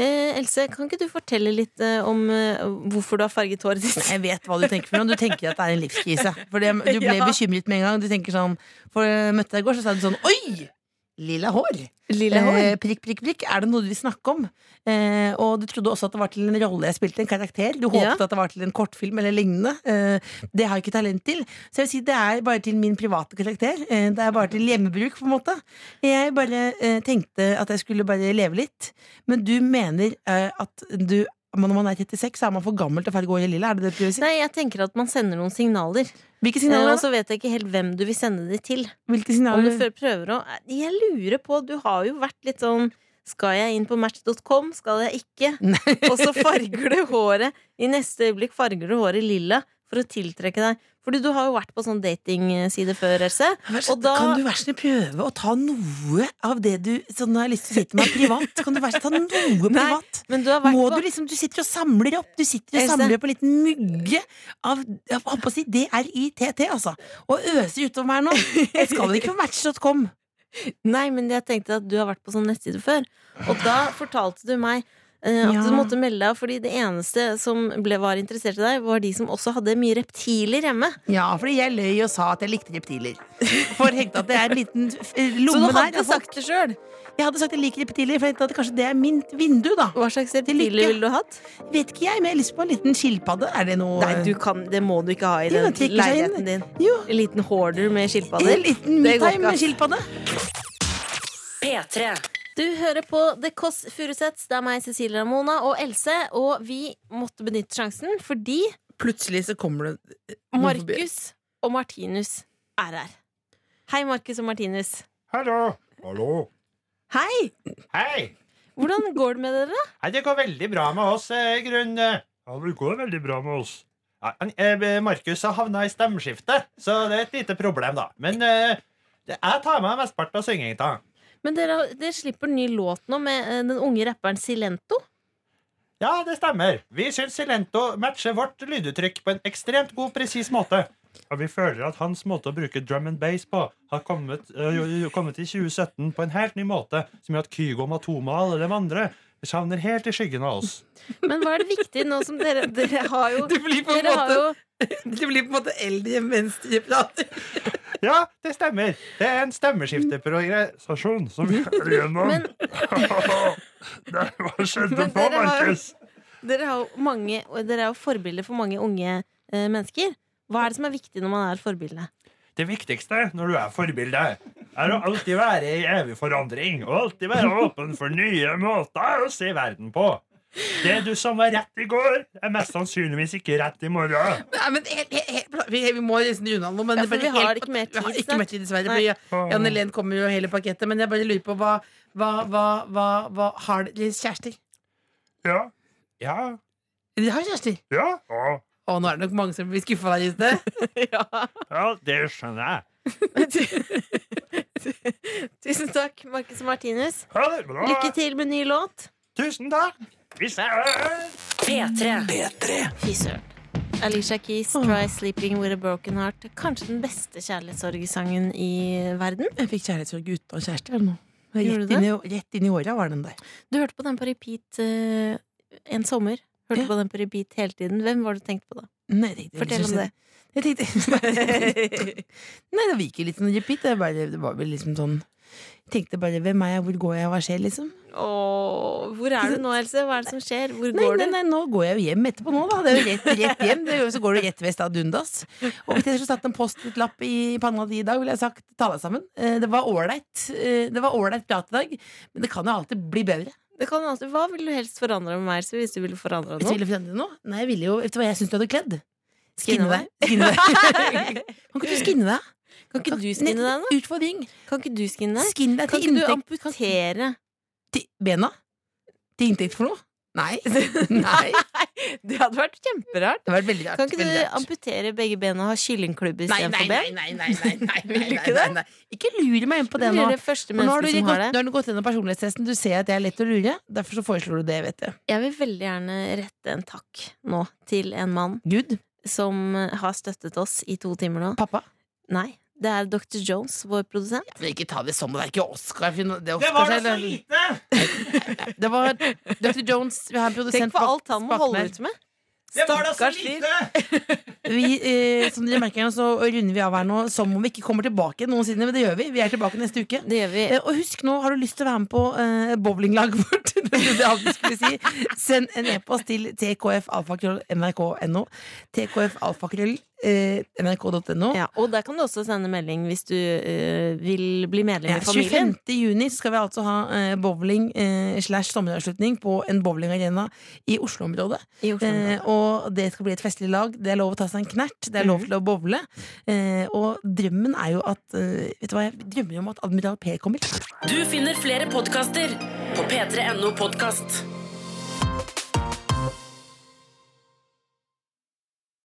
Speaker 3: Eh, Else, kan ikke du fortelle litt eh, om eh, hvorfor du har farget håret ditt?
Speaker 4: Jeg vet hva du tenker for noe. Du tenker at det er en livskrise. For det, du ble
Speaker 3: Ja.
Speaker 4: bekymret med en gang. Du tenker sånn, for jeg møtte deg i går, så sa du sånn Oi! Lilla hår.
Speaker 3: Lille hår.
Speaker 4: Eh, prikk, prikk, prikk. Er det noe du vil snakke om? Eh, og du trodde også at det var til en rolle jeg spilte, en karakter. Du håpet
Speaker 3: Ja.
Speaker 4: at det var til en kortfilm eller lignende. Eh, det har jeg ikke talent til. Så jeg vil si det er bare til min private karakter. Eh, det er bare til hjemmebruk, på en måte. Jeg bare eh, tenkte at jeg skulle bare leve litt. Men du mener eh, at du når man er 36, så er man for gammel til å farge håret lilla? Er det det du prøver å si?
Speaker 3: Nei, jeg tenker at man sender noen signaler.
Speaker 4: Hvilke
Speaker 3: Eh,
Speaker 4: signaler?
Speaker 3: og så vet jeg ikke helt hvem du vil sende de til. Om
Speaker 4: Hvilke
Speaker 3: du
Speaker 4: signaler?
Speaker 3: før prøver å eh, Jeg lurer på, du har jo vært litt sånn skal jeg inn på match.com? Skal jeg ikke?
Speaker 4: Nei.
Speaker 3: Og så farger du håret I neste øyeblikk farger du håret lilla for å tiltrekke deg Fordi du har jo vært på sånn datingside før, Else.
Speaker 4: Og
Speaker 3: Og da-
Speaker 4: Kan du være snill prøve å ta noe av det du sånn, har lyst til å si til meg privat? Kan du være snill ta noe
Speaker 3: Nei,
Speaker 4: privat?
Speaker 3: Men du har vært
Speaker 4: Må
Speaker 3: på
Speaker 4: du liksom, du sitter og samler opp Du sitter og
Speaker 3: Else.
Speaker 4: samler opp en liten mugge Av, jeg holdt på å si, D-R-I-T-T altså Og øser utover meg nå Jeg skal ikke på match.com
Speaker 3: Nei, men jeg tenkte at du har vært på sånn nettside før. Og da fortalte du meg eh, at
Speaker 4: Ja.
Speaker 3: du måtte melde deg, fordi det eneste som ble, var interessert i deg, var de som også hadde mye reptiler hjemme.
Speaker 4: Ja, fordi jeg løy og sa at jeg likte reptiler For hengte at det er en liten f- eh, lomme
Speaker 3: Så du
Speaker 4: der
Speaker 3: hadde
Speaker 4: av folk.
Speaker 3: sagt det sjøl.
Speaker 4: Jeg hadde sagt at jeg liker reptiler For jeg tenkte at kanskje det er min vindu da
Speaker 3: Hva slags
Speaker 4: Til lykke.
Speaker 3: reptiler ville du hatt?
Speaker 4: Vet ikke jeg, men jeg har lyst på en liten skilpadde Er det noe
Speaker 3: Nei, du kan, eh, Det må du ikke ha i
Speaker 4: Jo,
Speaker 3: den
Speaker 4: det trekker seg inn.
Speaker 3: leiligheten din.
Speaker 4: Jo,
Speaker 3: En liten hoarder med skilpadder.
Speaker 4: en liten
Speaker 3: Det går
Speaker 4: midtime
Speaker 3: ikke,
Speaker 4: med
Speaker 3: ass.
Speaker 4: skilpadde
Speaker 1: P3.
Speaker 3: Du hører på The Kåss Furuseths. Det er meg, Cecilie Ramona og Else. Og vi måtte benytte sjansen fordi
Speaker 4: Plutselig så kommer det
Speaker 3: Markus og Martinus er her. Hei, Markus og Martinus.
Speaker 8: Hallo. Hallo.
Speaker 3: Hei!
Speaker 8: Hei.
Speaker 3: Hvordan går det med dere?
Speaker 8: Nei, det går veldig bra med oss, eh, i grunnen. eh. Ja, det går veldig bra med oss. eh, Markus har havna i stemmeskiftet, så det er et lite problem, da. Men eh, det, jeg tar med mesteparten av synginga.
Speaker 3: Men dere, dere slipper ny låt nå med eh, den unge rapperen Silento.
Speaker 8: Ja, det stemmer. Vi syns Silento matcher vårt lyduttrykk på en ekstremt god, presis måte. Og vi føler at hans måte å bruke drum and bass på har kommet, øh, jo- jo- kommet i 2017 på en helt ny måte, som gjør at Kygo Matoma og alle de andre savner helt i skyggen av oss.
Speaker 3: Men hva er det viktig nå som dere Dere har jo,
Speaker 4: Du blir på en
Speaker 3: dere har jo
Speaker 4: måte- Det blir på en måte eldre mens de prater
Speaker 8: Ja, det stemmer. Det er en stemmeskifteprogresjon som vi er
Speaker 3: Men-
Speaker 8: igjennom. Hva skjedde
Speaker 3: Men på, dere har- Markus? Dere, har jo mange, og dere er jo forbilder for mange unge eh, mennesker. Hva er det som er viktig når man er forbilde?
Speaker 8: Det viktigste når du er forbilde, er å alltid være i evig forandring og alltid være åpen for nye måter å se verden på. Det du som var rett i går, er mest sannsynligvis ikke rett i morgen.
Speaker 4: Nei, men helt, helt, helt, vi, vi må nesten runde av nå. Men
Speaker 3: Ja,
Speaker 4: det
Speaker 3: for
Speaker 4: bare
Speaker 3: vi har
Speaker 4: helt-
Speaker 3: ikke mer tid
Speaker 4: vi har
Speaker 3: snart.
Speaker 4: Ikke mer tid dessverre.
Speaker 3: Nei.
Speaker 4: fordi Janne Len kommer jo hele pakettet. Men jeg bare lurer på hva, hva, hva, hva, hva Har dere kjærester?
Speaker 8: Ja. Ja.
Speaker 4: De har kjærester.
Speaker 8: Ja.
Speaker 4: Å, nå er det nok mange som blir skuffa der ute.
Speaker 8: ja, det skjønner jeg.
Speaker 3: Tusen takk, Marcus og Martinus.
Speaker 8: Ha det bra.
Speaker 3: Lykke til med ny låt.
Speaker 8: Tusen takk. Vi ses.
Speaker 1: P3.
Speaker 3: Fy søren. Alicia Keys, 'Try Sleeping With A Broken Heart'. Kanskje den beste kjærlighetssorgsangen i verden.
Speaker 4: Jeg fikk kjærlighetssorg uten kjæreste. Eller noe. Det er
Speaker 3: Gjorde
Speaker 4: Rett
Speaker 3: du
Speaker 4: inn, i, rett inn i åra var den der.
Speaker 3: Du hørte på den på repeat eh, en sommer. Hørte
Speaker 4: Ja.
Speaker 3: på den på repeat hele tiden. Hvem var det du tenkte på da?
Speaker 4: Nei, jeg tenkte,
Speaker 3: Fortell om det.
Speaker 4: Jeg tenkte, nei, det gikk jo litt sånn repeat. Det, bare, det var vel liksom sånn Jeg tenkte bare 'Hvem er jeg? Hvor går jeg? Hva skjer?' liksom.
Speaker 3: Åh, hvor er du nå, Else? Hva er det som skjer? Hvor
Speaker 4: Nei,
Speaker 3: går
Speaker 4: nei,
Speaker 3: du?
Speaker 4: nei, nå går jeg jo hjem etterpå nå, da. Det er jo rett, rett hjem. Det er jo, så går du rett vest av Dundas. Og hvis jeg skulle satt en post-it-lapp i panna di i dag, ville jeg sagt ta deg sammen. Eh, Det var ålreit. Eh, Det var ålreit prat i dag, men det kan jo alltid bli bedre.
Speaker 3: Det kan alltid, hva ville du helst forandre med meg, Else, hvis du ville forandre
Speaker 4: Hvis du
Speaker 3: noe?
Speaker 4: ville forandre noe? Nei, jeg ville jo Vet du hva jeg syns du hadde kledd?
Speaker 3: Skinne
Speaker 4: Skinne
Speaker 3: meg.
Speaker 4: deg. Skinne deg. kan ikke du skinne deg?
Speaker 3: Kan ikke du skinne deg nå?
Speaker 4: Utfordring.
Speaker 3: Kan ikke du skinne deg?
Speaker 4: Skinn deg
Speaker 3: Kan
Speaker 4: til
Speaker 3: ikke du
Speaker 4: inntekt
Speaker 3: amputere?
Speaker 4: til bena? Til inntekt for noe? Nei. Nei.
Speaker 3: Det hadde vært kjemperart.
Speaker 4: Det hadde vært veldig rart.
Speaker 3: Kan ikke du
Speaker 4: veldig rart.
Speaker 3: amputere begge bena og ha kyllingklubb
Speaker 4: Nei,
Speaker 3: istedenfor
Speaker 4: nei,
Speaker 3: ben?
Speaker 4: nei, nei, nei, nei, nei, nei,
Speaker 3: du ikke
Speaker 4: nei, nei, nei. Ikke lure meg inn på
Speaker 3: Det
Speaker 4: det nå.
Speaker 3: er det første
Speaker 4: For Nå har, du
Speaker 3: mennesket som
Speaker 4: gått,
Speaker 3: har
Speaker 4: nå
Speaker 3: det.
Speaker 4: har du gått gjennom personlighetstesten. Du ser at jeg er lett å lure. Derfor så foreslår du det, vet du.
Speaker 3: Jeg vil veldig gjerne rette en takk nå til en mann
Speaker 4: Gud.
Speaker 3: som har støttet oss i to timer nå.
Speaker 4: Pappa.
Speaker 3: Nei, det er Dr. Jones, vår produsent.
Speaker 4: Men ikke ta det
Speaker 3: sånn.
Speaker 4: som om det er ikke Oscar. for Det, er
Speaker 8: Det
Speaker 4: Oscar
Speaker 8: var da så
Speaker 4: selv.
Speaker 8: lite!
Speaker 4: Det var Dr. Jones. Vi har en produsent
Speaker 3: Tenk på
Speaker 4: bak-
Speaker 3: alt han må
Speaker 4: bak
Speaker 3: holde
Speaker 4: meg.
Speaker 3: ut med.
Speaker 8: Det var da så
Speaker 3: Stakkars fyr.
Speaker 8: lite!
Speaker 4: Vi, eh, som dere merker, så runder vi av her nå som om vi ikke kommer tilbake noensinne. Men det gjør vi. Vi er tilbake neste uke.
Speaker 3: Det gjør vi.
Speaker 4: Eh, Og husk nå, har du lyst til å være med på eh, bowlinglaget vårt? det var det Adelsen skulle si. Send en e-post til tkfalfakrøll.nrk.no. eh, Tkfalfakrøll.nrk.no.
Speaker 3: Ja, og der kan du også sende melding hvis du eh, vil bli medlem
Speaker 4: Ja,
Speaker 3: i familien.
Speaker 4: 25. juni så skal vi altså ha eh, bowling eh, slash sommeravslutning på en bowlingarena i Oslo-området.
Speaker 3: I Oslo.
Speaker 4: Eh, og det skal bli et festlig lag. Det er lov å ta seg en knert, det er
Speaker 3: Mhm.
Speaker 4: lov til å bowle. Eh, og drømmen er jo at eh, Vet du hva, jeg drømmer jo om at Admiral P kommer.
Speaker 1: Du finner flere podkaster på p3.no podkast.